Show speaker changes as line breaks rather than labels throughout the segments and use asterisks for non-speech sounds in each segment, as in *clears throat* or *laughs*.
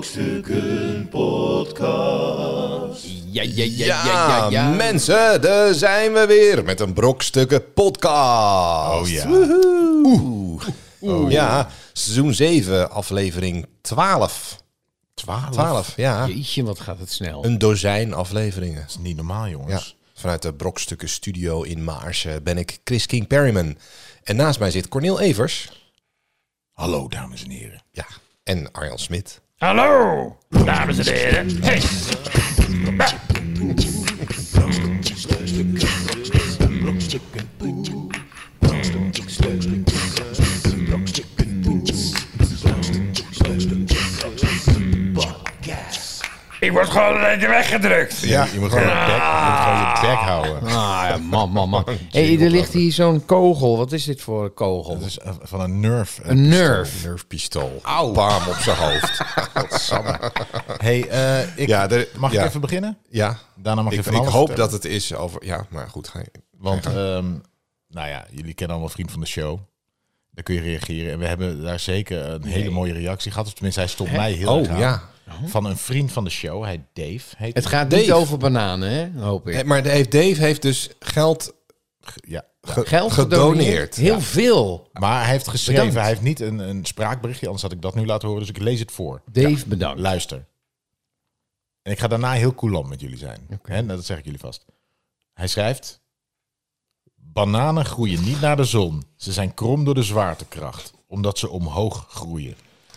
Brokstukken Podcast.
Ja, ja, ja,
Ja,
ja, ja, ja.
mensen, daar zijn we weer met een brokstukken podcast.
Oh ja.
Woehoe. Oeh. Ja, seizoen 7, aflevering 12.
12.
12, ja.
Jeetje, wat gaat het snel.
Ah,
Een dozijn afleveringen.
Dat is niet normaal,
Ja.
jongens.
Vanuit de brokstukken studio in Maarsen ben ik Chris King Perryman. En naast mij zit Cornel Evers.
Hallo, dames en heren.
Ja. En Arjan Smit.
Hallo, dames en heren. Hey. Ik word gewoon een beetje weggedrukt.
Ja. Je moet gewoon je bek, je moet gewoon je bek houden.
Ah, ja, man, man,
*laughs*
man. Hé, hey, er ligt hier zo'n kogel. Wat is dit voor een kogel?
Dat is eh, van een nerf. eh,
Een
pistool.
nerf.
Nerfpistool. Auw. Bam op zijn
*laughs*
hoofd.
Hey, eh, ik,
Ja, er-
mag
ja.
ik even beginnen?
ja.
Daarna mag
Ik,
je van
ik
alles
hoop
vertellen.
dat het is over... Ja, maar goed. Ga je,
Want, ehm, nou ja, jullie kennen allemaal Vriend van de Show. Daar kun je reageren. En we hebben daar zeker een hele mooie reactie gehad. Of tenminste, hij stond mij heel erg
oh,
aan.
ja.
Van een vriend van de show. Hij Dave heet
Het
hij.
gaat niet
Dave.
over bananen, hè? hoop
Eh,
ik.
Maar de- heeft- Dave heeft dus geld
Ja.
ge-
Geld gedoneerd.
gedoneerd.
Heel veel.
Maar hij heeft geschreven.
Bedankt.
Hij heeft niet een, een spraakberichtje, anders had ik dat nu laten horen. Dus ik lees het voor.
Dave, bedankt.
Luister. En ik ga daarna heel coulant met jullie zijn. Hè, nou, dat zeg ik jullie vast. Hij schrijft... Bananen groeien niet naar de zon. Ze zijn krom door de zwaartekracht. Omdat ze omhoog groeien.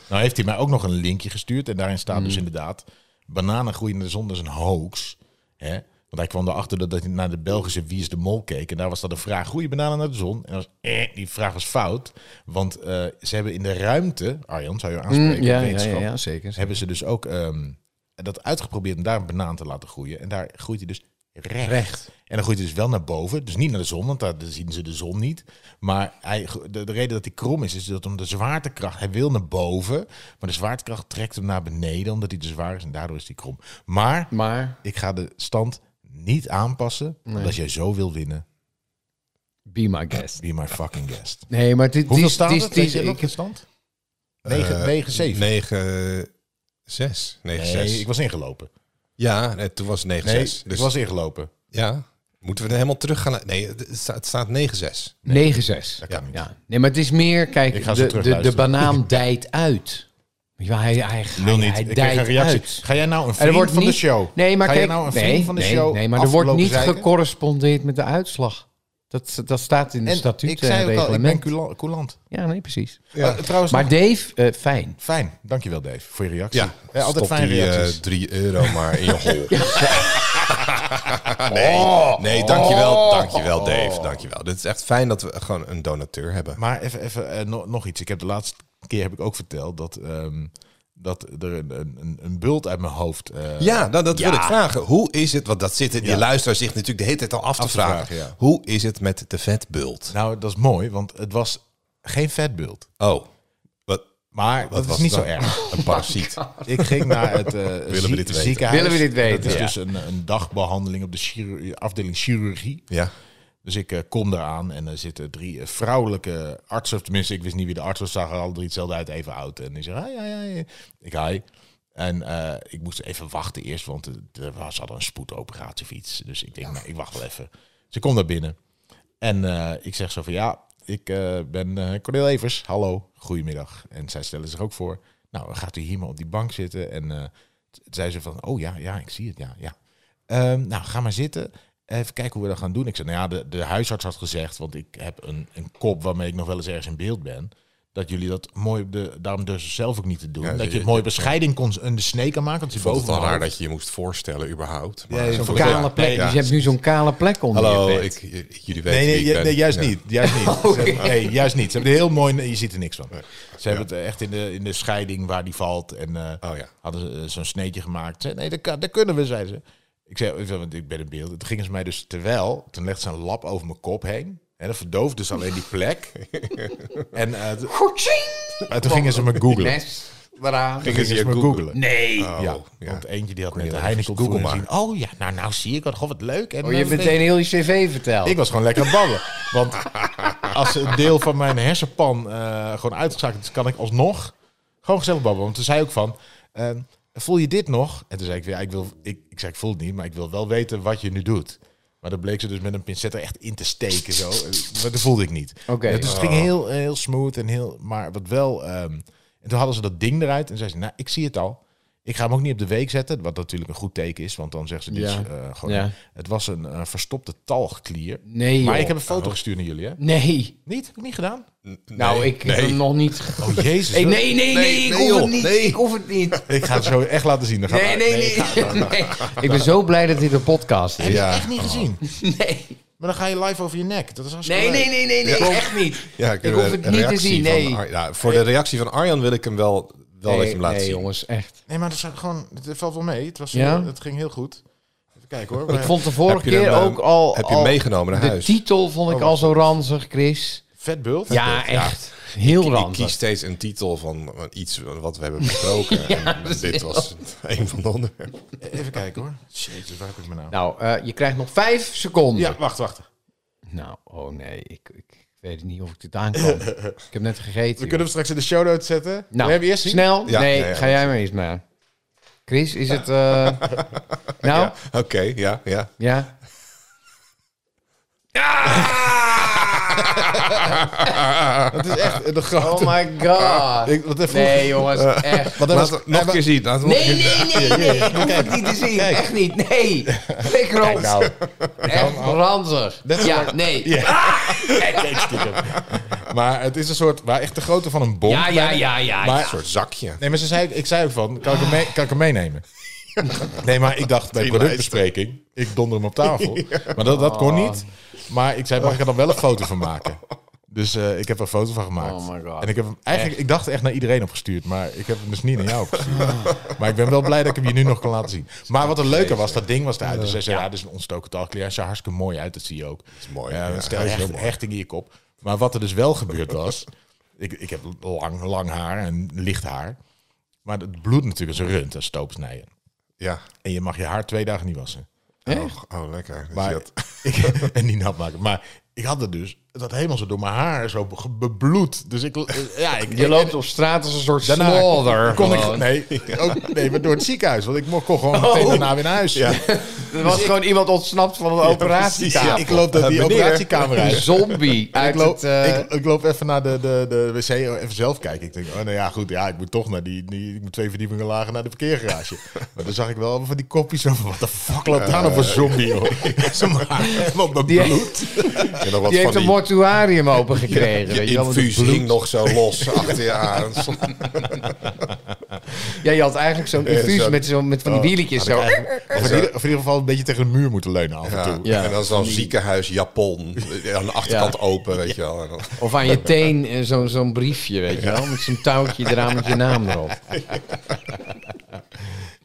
Nou heeft hij mij ook nog een linkje gestuurd. En daarin staat
Hmm.
dus inderdaad... Bananen groeien naar de zon, dat is een hoax. Hè? Want hij kwam erachter dat, dat hij naar de Belgische Wie is de Mol keek. En daar was dat de vraag, groeien bananen naar de zon? En dat was, eh, die vraag was fout. Want eh, ze hebben in de ruimte... Arjan, zou je
Mm,
aanspreken?
ja, ja, ja,
wetenschap
ja, zeker.
hebben ze dus ook ehm, dat uitgeprobeerd om daar een banaan te laten groeien. En daar groeit hij dus recht.
Recht.
En dan groeit hij dus wel naar boven. Dus niet naar de zon, want daar zien ze de zon niet. Maar hij, de, de reden dat hij krom is, is dat om de zwaartekracht... Hij wil naar boven, maar de zwaartekracht trekt hem naar beneden... omdat hij te zwaar is en daardoor is hij krom. Maar
Maar
ik ga de stand niet aanpassen. Want als jij zo wil winnen,
be my guest.
be my fucking
*laughs*
guest.
Nee, maar dit
Hoeveel
dit-
staat
dit-
het?
dit-
Weet je nog
ik- Eh,
de stand? 9-7.
9, 6. 9,
nee, ik was ingelopen.
Ja, nee, toen was 9,
Nee,
6. Dus
ik was ingelopen.
ja, moeten we er helemaal terug gaan? Nee, het sta- het staat 9, 6.
9-6.
kan niet.
Ja. Nee, maar het is meer, kijk,
Ik ga zo
de,
terug
de, de
luisteren.
banaan *laughs* dijt uit. Ja, hij, hij, hij,
Wil niet.
hij
ik krijg een
dijt
reactie.
uit.
Ga jij nou een
En
vriend van de show?
Nee, maar
Ga
kijk,
jij nou een vriend
nee,
van de
nee,
show?
nee, maar er wordt
afgelopen
niet
zeiken?
gecorrespondeerd met de uitslag. Dat, dat staat in de
En
statuut
Ik
en
zei ook al, ik ben
reglement.
coula- coulant.
ja, nee, precies.
Eh, trouwens,
Maar
nog-
Dave, eh, fijn.
fijn. Dankjewel Dave voor je reactie.
Ja,
Eh, altijd
stop
fijne
die, eh,
reacties.
3 euro maar in je
*laughs*
hol. *laughs*
Oh.
nee, nee, dankjewel, dankjewel Dave, dankjewel. Dit is echt fijn dat we gewoon een donateur hebben.
maar even, even eh, no- nog iets. Ik heb de laatste keer heb ik ook verteld dat, ehm, dat er een, een, een- een bult uit mijn hoofd... eh,
Ja, nou, dat wil ik vragen. Hoe is het, want dat zit in, die luisteraar zich natuurlijk de hele tijd al af te
Af te
vragen.
vragen, ja.
Hoe is het met de vetbult?
Nou, dat is mooi, want het was geen vetbult.
Nou,
Oh, wat,
Maar dat
was
is niet
het
zo
dan?
erg.
een
*laughs*
parasiet.
Ik ging naar
*laughs*
het eh, zie-
dit weten?
ziekenhuis.
Willen we dit weten?
Dat is
Ja.
dus een, een dagbehandeling op de chirurgie- afdeling chirurgie.
Ja.
Dus ik eh, kom daaraan en er zitten drie eh, vrouwelijke artsen. Of tenminste, ik wist niet wie de arts was. Zagen er alle drie hetzelfde uit, even oud. En die zeggen, hi, hi, hi. Ik, hi. En eh, ik moest even wachten eerst, want eh, er was al een spoedoperatie of iets. Dus ik denk, nou, ik wacht wel even. Ze komt daar binnen. En eh, ik zeg zo van, ja, ik eh, ben eh Cornel Evers. Hallo, goedemiddag. En zij stellen zich ook voor. Nou, dan gaat u hier maar op die bank zitten. En eh, t- zei ze van, oh ja, ja, ik zie het, ja, ja. Ehm, nou, ga maar zitten. Even kijken hoe we dat gaan doen. Ik zei, nou ja, de, de huisarts had gezegd, want ik heb een, een kop waarmee ik nog wel eens ergens in beeld ben. Dat jullie dat mooi, op de, daarom durf ze zelf ook niet te doen.
Ja,
dat je
je-
het mooi bescheiden kon, een de snee kan maken. Want
Ik
het is
vond het
boven
wel
mijn
raar
hoofd.
dat je je moest voorstellen überhaupt. Maar
ja,
zo
zo'n
van-
Kale
ja,
plek.
ja.
Dus je hebt nu zo'n kale plek onder
Hallo,
je bed.
ik, j-
Nee,
jullie weten wie
nee,
ik
ju-
ben.
nee, juist
eh, Ja.
niet. Juist
*laughs*
niet. Ze- nee, juist niet. Ze hebben het heel mooi. Je ziet er niks van. Ze hebben het eh, echt in de, in de scheiding waar die valt. En eh,
Oh ja.
hadden ze eh, zo'n sneetje gemaakt. Ze- nee, dat, kan, dat kunnen we, zeiden ze. Ik zei, ik zei, want ik ben in beeld. Toen gingen ze mij dus terwijl, toen legde ze een lap over mijn kop heen. En dat verdoofde dus alleen die
*laughs*
plek. en eh, t- maar toen gingen ze me googlen.
Mes, eraan.
Toen gingen ze
je
me
googlen?
googlen.
Nee.
ja,
Oh, ja.
want eentje die had net de
je
Heineken
even
op Google
googlen
gezien. Oh ja, nou, nou zie ik wat, goh, wat leuk. En
Oh, je hebt meteen heel je cv verteld.
ik was gewoon lekker aan het babbelen. Want als een deel van mijn hersenpan eh, gewoon uitgeschakeld is, kan ik alsnog gewoon gezellig babbelen. Want toen zei ook van, Ehm, voel je dit nog? En toen zei ik weer, ja, ik, wil, ik, ik zei, ik voel het niet, maar ik wil wel weten wat je nu doet. Maar dan bleek ze dus met een pincet er echt in te steken. Zo. Eh, Maar dat voelde ik niet.
Oké.
Ja, dus het ging heel, heel smooth en heel. Maar wat wel. ehm, en toen hadden ze dat ding eruit en zei ze: Nou, ik zie het al. Ik ga hem ook niet op de week zetten. Wat natuurlijk een goed teken is, want dan zegt ze: dit is,
Ja.
eh, gewoon,
Ja.
Het was een eh, verstopte talgklier.
Nee, joh.
maar ik heb een foto gestuurd naar jullie, hè?
Nee.
Niet? Heb ik niet
*laughs*
gedaan?
Nou, ik heb hem nog niet... ge-
Oh jezus.
Hey, nee, nee, nee,
Nee,
ik
nee,
hoef
joh.
het niet.
Nee.
Ik hoef het
*laughs*
niet.
Ik ga het zo echt laten zien. Dan gaat
Nee,
het-
nee, nee. nee. *laughs* Ik ben zo blij dat dit een podcast is.
Heb je
Ja.
echt niet gezien.
*laughs* Nee.
Maar dan ga je live over je nek. Dat is hartstikke
Nee,
leuk.
nee, nee, nee, nee, echt niet.
Ja,
ik hoef het niet te zien, nee.
ja, voor de reactie van Arjan wil ik hem wel, wel dat je
Nee,
hem laat
nee,
zien.
jongens, echt.
Nee, maar dat is gewoon, het valt wel mee. Het, was, eh,
Ja?
het ging heel goed. Even kijken hoor.
Ik vond de vorige
Oh Heb je hem,
keer
eh,
ook al...
heb je hem
al-
meegenomen naar
de
huis? Oh,
titel vond ik al zo ranzig, Chris.
Vetbult.
Ja, echt. Heel
Ik kies
ranzig.
steeds een titel van iets wat we hebben
*laughs*
besproken. en dit was een van de onderwerpen.
Oh.
Even kijken hoor. Jezus, waar heb ik me nou?
Nou, eh, je krijgt nog vijf seconden.
Ja, wacht, wacht.
Nou, oh nee, ik, ik weet niet of ik dit aan
*laughs*
kan. ik heb net
We
gegeten.
kunnen hem straks in de show notes zetten.
joh.
we
nou,
hebben eerst zien.
snel.
Ja,
nee,
ja, ja,
ga jij maar eens maar. Chris, is het...
*laughs*
eh, nou, ja.
Oké, ja, ja.
Dat is echt een grote...
Oh my
*laughs*
god.
Ik- wat even-
Nee, jongens, echt.
Want dat was-
Laten we nog een keer zien. Laten we nog
Nee,
een
*laughs*
nee, nee,
keer-
nee. Ik hoef het niet te zien. Echt niet. Nee. Flikker op. Echt ranzig.
nou. Net
Ja, nee. Ja,
Nee, stiekem. maar het is een soort... Maar echt de grootte van een bom.
ja, ja, ja. ja.
Maar-
Een soort zakje.
Nee, maar ze zei, ik zei ook van, kan ik hem, mee- kan ik hem
*laughs*
meenemen? Nee, maar ik dacht bij
Die
productbespreking, ik donder hem op tafel. Maar dat, dat kon niet.
Oh.
Maar ik zei, mag ik er dan wel een foto van maken? Dus eh, ik heb er een foto van gemaakt.
Oh my God.
En ik heb hem eigenlijk, ik dacht echt naar iedereen opgestuurd, maar ik heb hem dus niet naar jou opgestuurd. Maar ik ben wel blij dat ik hem je nu nog kan laten
*laughs*
zien. Maar wat een leuke was, dat ding was eruit. Dus zij zei, ja, dit is een ontstoken talkleer. Hij zag hartstikke mooi uit, dat zie je ook. Dat
is mooi, ja.
Ja, stel
Hij is
hecht-
heel mooi.
hechting in je kop. Maar wat er dus wel gebeurd was, *laughs* ik, ik heb lang, lang haar en licht haar. Maar het bloed natuurlijk als een rund, als stoopsnijden.
Ja.
En je mag je haar twee dagen niet wassen.
Oh, oh, lekker. Dus
Maar,
je had-
*laughs* ik, en niet nat maken. Maar ik had het dus, dat helemaal zo door mijn haar, zo be- bebloed. Dus ik, ja, ik,
Je loopt op straat als een soort
daarna
slaughter.
*laughs* kon ik,
gewoon. Oh.
nee, ook, nee, maar door het ziekenhuis. Want ik mocht kon
*laughs*
gewoon meteen daarna weer naar huis. *laughs*
Er was gewoon iemand ontsnapt van een
Dus ja,
operatietafel.
ik loop dat die
meneer.
operatiekamer
*laughs* Een
uit.
zombie uit
Ik loop,
eh, het... eh,
ik, ik loop even naar de, de, de wc, even zelf kijken. Ik denk, oh nou ja, goed, ja, ik moet toch naar die, die ik moet twee verdiepingen lager naar de
*laughs*
parkeergarage. maar dan zag ik wel allemaal van die kopjes over, wat de fuck loopt daar nou voor zombie, joh?
*laughs*
*laughs* Ze maken helemaal
die,
bebloed.
en nog wat
die heeft
van
een
die,
mortuarium opengekregen.
je
weet je wel, met
infuus
bloed.
hing nog zo los
*laughs*
achter je aan.
Ja, je had eigenlijk zo'n
Nee,
infuus
zo-
met, zo, met van die
Oh,
wieltjes. Zo.
Of in, ieder, of in ieder geval een beetje tegen de muur moeten leunen af en
Ja.
toe.
Ja.
En dan zo'n ziekenhuisjapon aan de achterkant
Ja.
open, weet je wel. En dan-
Of aan je teen eh, zo- zo'n briefje, weet je wel. Met zo'n touwtje eraan met je naam erop.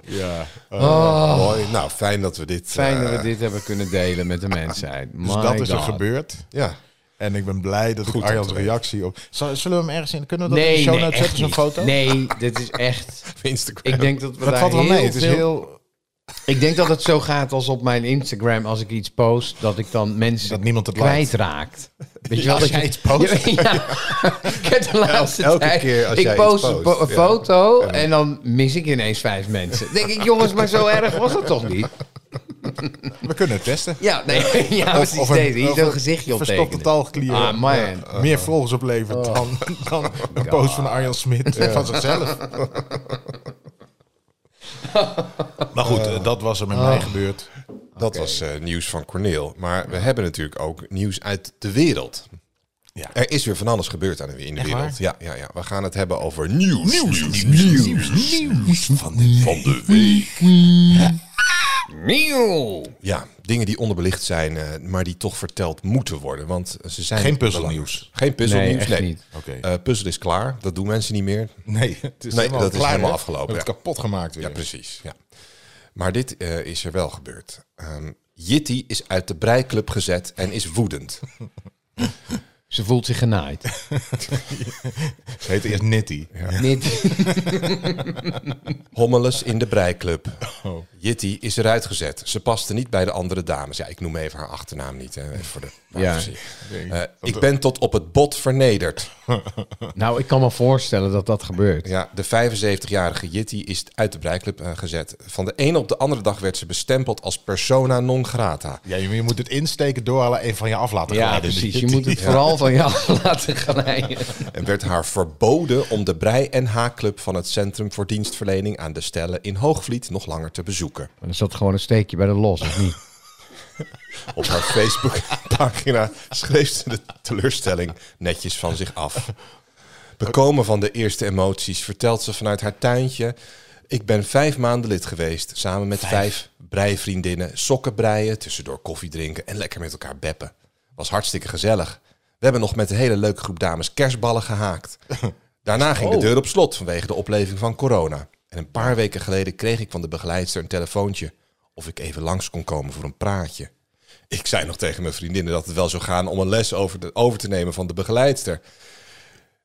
Ja. Oh.
Mooi. Nou, fijn dat we dit...
Oh, Fijn dat
eh,
we dit hebben kunnen delen met de mensheid.
Dus
My
dat is er
God.
gebeurd.
Ja.
En ik ben blij dat
Goed
ik
om
Arjan's
te weten.
reactie op... Zal- Zullen we hem ergens in... Kunnen we dat in de
Nee,
show
nee,
notes
echt
zetten, zo'n
niet.
foto?
Nee, dit is echt...
Instagram.
Ik denk dat we
Dat
daar
valt wel
heel
mee. Het is
veel-
heel...
Ik denk dat het zo gaat als op mijn Instagram. Als ik iets post, dat ik dan mensen
Dat niemand het liked. *laughs*
kwijtraakt. Weet
Ja, als
dat
jij iets post.
*laughs* Ja, ja. ik
*laughs*
heb de laatste
elke
tijd-
keer als
ik
jij iets
post,
post,
een po- een
ja.
foto en dan mis ik ineens vijf mensen. denk ik, jongens, maar zo erg was het toch niet?
We kunnen het testen.
Ja, nee,
*laughs*
ja, precies
of een-
deze. Hier
of
zo'n
een
gezichtje op
Verstopte talgklieren.
Ah, man.
Meer volgers oplevert dan, dan een post van Arjan Smit van *laughs* zichzelf. maar goed, eh, dat was er met mij gebeurd.
Dat was eh, nieuws van Corneel. Maar we hebben natuurlijk ook nieuws uit de wereld.
Ja.
Er is weer van alles gebeurd aan de, in de
Echt waar?
wereld. Ja, ja, ja, we gaan het hebben over nieuws. Nieuws, nieuws,
van de
van de week.
Nieuw!
Ja, dingen die onderbelicht zijn, eh, maar die toch verteld moeten worden. Want ze zijn
Geen puzzelnieuws.
belangrijk. Geen puzzelnieuws,
Nee,
nee.
echt niet.
Oké.
Eh, puzzel is klaar, dat doen mensen niet meer.
Nee, het is
Nee,
helemaal
dat is
klaar,
helemaal
hè?
afgelopen,
We hebben Het kapot gemaakt weer.
Ja, precies. Ja. Maar dit eh, is er wel gebeurd. Ehm Jitty is uit de breiklub gezet en is woedend.
Ze voelt zich genaaid.
Ze heette eerst Nitty. *laughs*
Niet,
Hommeles in de breiklub.
Oh.
Jitty Jitty is eruit gezet. Ze paste niet bij de andere dames. Ja, ik noem even haar achternaam niet. Hè, even voor de
Ja.
Eh, ik ben tot op het bot vernederd.
Nou, ik kan me voorstellen dat dat gebeurt.
Ja, de 75-jarige Jitty is uit de breiklub eh, gezet. Van de ene op de andere dag werd ze bestempeld als persona non grata.
Ja, je, je moet het insteken, doorhalen en van je af laten
Ja,
glijden.
*laughs*
Dus
precies. Je moet het vooral van jou *laughs* laten glijden.
En werd haar verboden om de brei- en haakclub van het Centrum voor Dienstverlening aan de Stellen in Hoogvliet nog langer te bezoeken.
Maar er zat gewoon een steekje bij de los, of niet?
Op haar Facebookpagina schreef ze de teleurstelling netjes van zich af. Bekomen van de eerste emoties vertelt ze vanuit haar tuintje... Ik ben vijf maanden lid geweest, samen met vijf, breivriendinnen. Sokken breien, tussendoor koffie drinken en lekker met elkaar beppen. Was hartstikke gezellig. We hebben nog met een hele leuke groep dames kerstballen gehaakt. Daarna ging de deur op slot vanwege de opleving van corona. En een paar weken geleden kreeg ik van de begeleidster een telefoontje... of ik even langs kon komen voor een praatje. Ik zei nog tegen mijn vriendinnen dat het wel zou gaan om een les over, de- over te nemen van de begeleidster.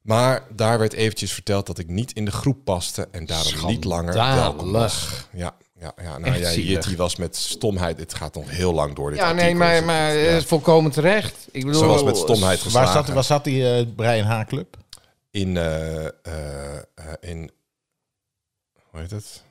Maar daar werd eventjes verteld dat ik niet in de groep paste en daarom niet langer welkom was. Ja, ja, ja. Nou,
Echt
ja
zielig.
Jitty was met stomheid. Het gaat nog heel lang door dit
Ja, nee,
artikel.
maar, maar
Ja.
het is volkomen terecht. Ik bedoel,
Ze was met stomheid
Waar
geslagen.
zat, waar zat die eh, Brian Haarclub?
In, eh, eh, eh, in... Hoe heet het?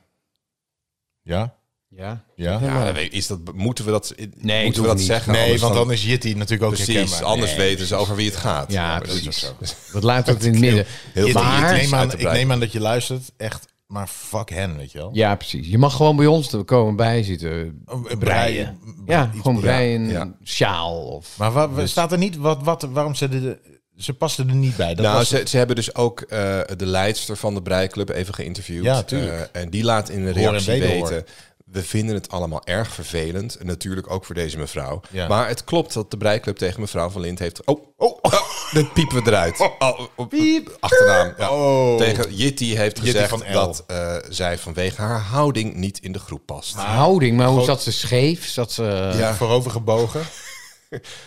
Ja?
Ja.
Ja?
Ja, dat weet ik. is dat, moeten we dat,
dat
moeten we
hoeft
dat
niet.
zeggen?
Nee,
Anders
want dan is Jitty natuurlijk ook
Precies,
herkenbaar.
anders
Nee.
weten ze over wie het gaat.
Ja,
maar dat is
precies.
ook zo.
Dat laat het in het *laughs* midden.
Heel
Jitty,
veel
ik,
Jitty's
neem
uit
aan,
de
ik
brei.
neem aan dat je luistert. Echt, maar fuck hen, weet je wel.
Ja, precies. Je mag gewoon bij ons te komen bijzitten.
Breien.
Oh, Ja, gewoon breien,
ja.
een sjaal of...
Maar wa- wa- staat er niet wat, wat waarom ze de, ze pasten er niet bij? Dat
nou,
was-
ze, ze hebben dus ook eh, de leidster van de breiklub even geïnterviewd.
Ja, tuurlijk.
Eh, en die laat in een reactie
wederhoor.
weten... We vinden het allemaal erg vervelend. En natuurlijk ook voor deze mevrouw.
Ja.
Maar het klopt dat de breiklub tegen mevrouw van Lind heeft... Oh, oh, oh, dat piepen we eruit.
*laughs*
Oh, oh, oh, Achternaam. ja.
Oh.
Tegen Jitty heeft
Jitty
gezegd
van L.
dat eh, zij vanwege haar houding niet in de groep past.
houding, maar hoe zat ze scheef? Zat ze...
ja. voorover gebogen.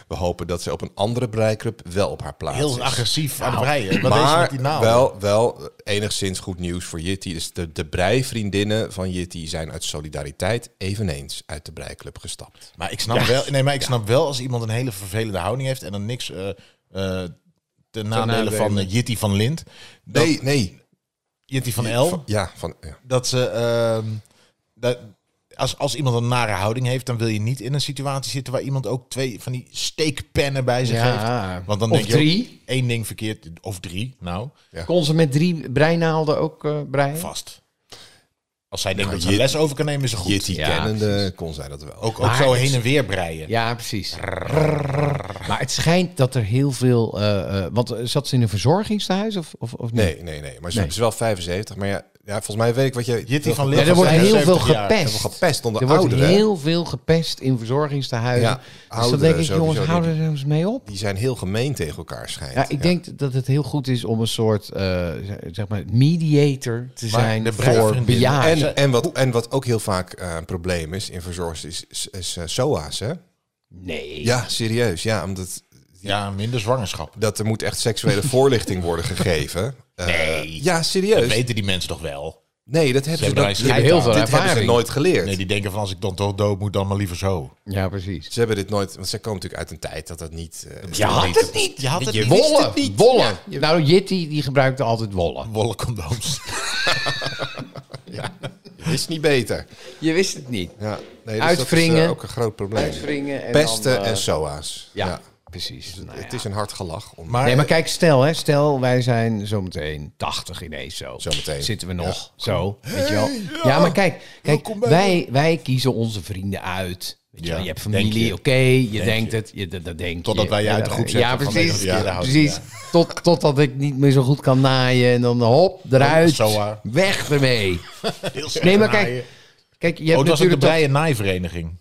We hopen dat ze op een andere breiklub wel op haar plaats
Heel
is.
agressief aan het breien. Wat is er met
Maar
die naam?
wel, wel eh, enigszins goed nieuws voor Jitty. Dus de, de breivriendinnen van Jitty zijn uit solidariteit eveneens uit de breiklub gestapt.
Maar ik snap wel, nee, maar ik snap wel als iemand een hele vervelende houding heeft en dan niks eh eh, ten nadele
nadele.
van eh, Jitty van Lind, dat-
Nee, nee.
Jitty van L,
Ja, van, eh, ja.
dat ze ehm, dat, als, als iemand een nare houding heeft, dan wil je niet in een situatie zitten waar iemand ook twee van die steekpennen bij zich
Ja.
heeft. Want dan
Of
denk je ook,
drie.
één ding verkeerd of drie, nou
Kon ze met drie breinaalden ook eh, breien?
vast. Als zij denkt
Nou,
dat ze
Jit-
les over kan nemen, is het goed.
Jitty
Ja,
kennende kon zij dat wel.
Ook, ook
Maar
zo
het-
heen en weer breien.
Ja, precies. Maar het schijnt dat er heel veel... eh, eh, want eh, zat ze in een verzorgingstehuis of, of, of niet?
nee, nee, nee. Maar ze is wel 75. Maar ja, ja volgens mij weet ik wat je...
Jitty van
wel-
Leeuwen
Ja, er wordt heel veel
75 jaar.
gepest.
gepest onder
Er wordt
ouderen.
heel veel gepest in verzorgingstehuizen.
Ja,
dus dan
ouderen
denk ik,
sowieso,
jongens,
denk
hou
ik.
er eens mee op.
Die zijn heel gemeen tegen elkaar schijnt.
Ja, ik denk dat het heel goed is om een soort, eh, zeg maar, mediator te
Maar
zijn
de
voor
bruidvriendinnen-
bejaarden.
En, en, wat, en wat ook heel vaak eh, een probleem is in verzorgers is, is, is, eh, SOA's, hè?
Nee.
Ja, serieus. Ja, omdat
Ja, minder zwangerschap.
Dus-
dat er moet echt *laughs* seksuele voorlichting worden gegeven. Eh,
Nee.
ja, serieus.
Dat weten die mensen toch wel?
nee, dat hebben ze,
hebben
dat-
daar een
dit-
heel veel
dit hebben ze
ervaring.
nooit geleerd.
Nee, die denken van als ik dan toch dood moet, dan maar liever zo.
Ja, precies.
Ze hebben dit nooit, want zij komen natuurlijk uit een tijd dat dat niet. eh,
Je had het niet. Je had het niet.
Wollen, wollen. Nou, Jitty die gebruikte altijd wollen.
Wollen condooms.
*laughs*
is niet beter.
Je wist het niet.
Ja, nee, dus
Uitwringen.
Dat is eh, ook een groot probleem.
Uitwringen en
Pesten
dan, eh,
en soa's.
Ja,
Ja.
precies. Nou
Het
ja.
is een hard gelach. Om...
Maar,
Nee, maar kijk, stel, hè, stel wij zijn zometeen 80 ineens zo.
Zometeen.
Zitten we nog zo. Weet je wel. Ja. maar kijk, kijk wij, wij kiezen onze vrienden uit. Weet je,
Ja,
wel, je hebt
denk
familie,
je.
oké, je denkt het, je, dat, dat denk
Totdat
je.
wij je uit de
Ja,
groep
Ja,
zetten vanwege
precies.
de verkeerde
Ja,
houding,
precies. Tot, totdat ik niet meer zo goed kan naaien en dan hop, eruit,
Zo waar.
weg ermee.
heel slecht
Nee, maar
naaien.
kijk, kijk je
Oh,
hebt
het was het de
natuurlijk dat-
breien
*laughs*
naaivereniging.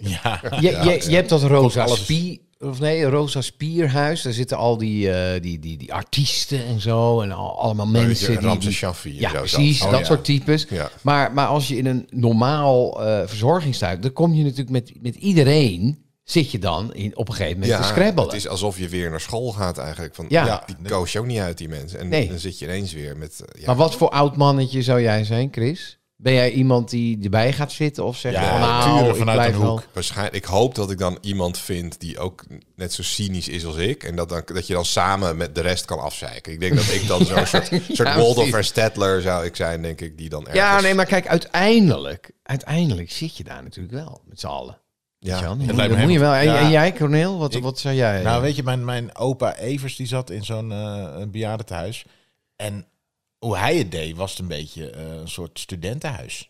ja.
je, je, je hebt dat Rosa
alles-
Spier, of nee, Rosa Spierhuis. Daar zitten al die, eh, die, die, die artiesten en zo. En al, allemaal mensen. die-
Ramses
die-
Shaffi en
Ja,
zo, dat.
precies.
Oh,
dat
ja.
soort types.
Ja.
Maar, maar als je in een normaal eh verzorgingstuin... dan kom je natuurlijk met, met iedereen... zit je dan in, op een gegeven moment te scrabbelen.
het is alsof je weer naar school gaat eigenlijk. Van,
Ja.
ja. die koos je ook niet uit, die mensen. En
Nee.
dan zit je ineens weer met... eh, ja,
Maar wat voor oud mannetje zou jij zijn, Chris? Ben jij iemand die erbij gaat zitten of zegt
Ja,
van nou,
tuurlijk,
ik
vanuit
blijf
een hoek.
wel.
Waarschijnlijk, ik hoop dat ik dan iemand vind die ook net zo cynisch is als ik. En dat, dan, dat je dan samen met de rest kan afzeiken. Ik denk dat ik dan
*laughs*
zo'n soort, soort
ja,
Waldorf
precies.
en Stedtler zou ik zijn, denk ik. Die dan ergens...
Ja, nee, maar kijk, uiteindelijk, uiteindelijk zit je daar natuurlijk wel met z'n allen.
Ja.
Jan, dat
lijkt
moet,
me
dat moet je wel.
helemaal-
En,
Ja.
en jij, Corneel, wat,
Ik-
wat zei jij?
Nou, weet je, mijn, mijn opa Evers die zat in zo'n eh bejaardentehuis. En hoe hij het deed, was het een beetje eh, een soort studentenhuis.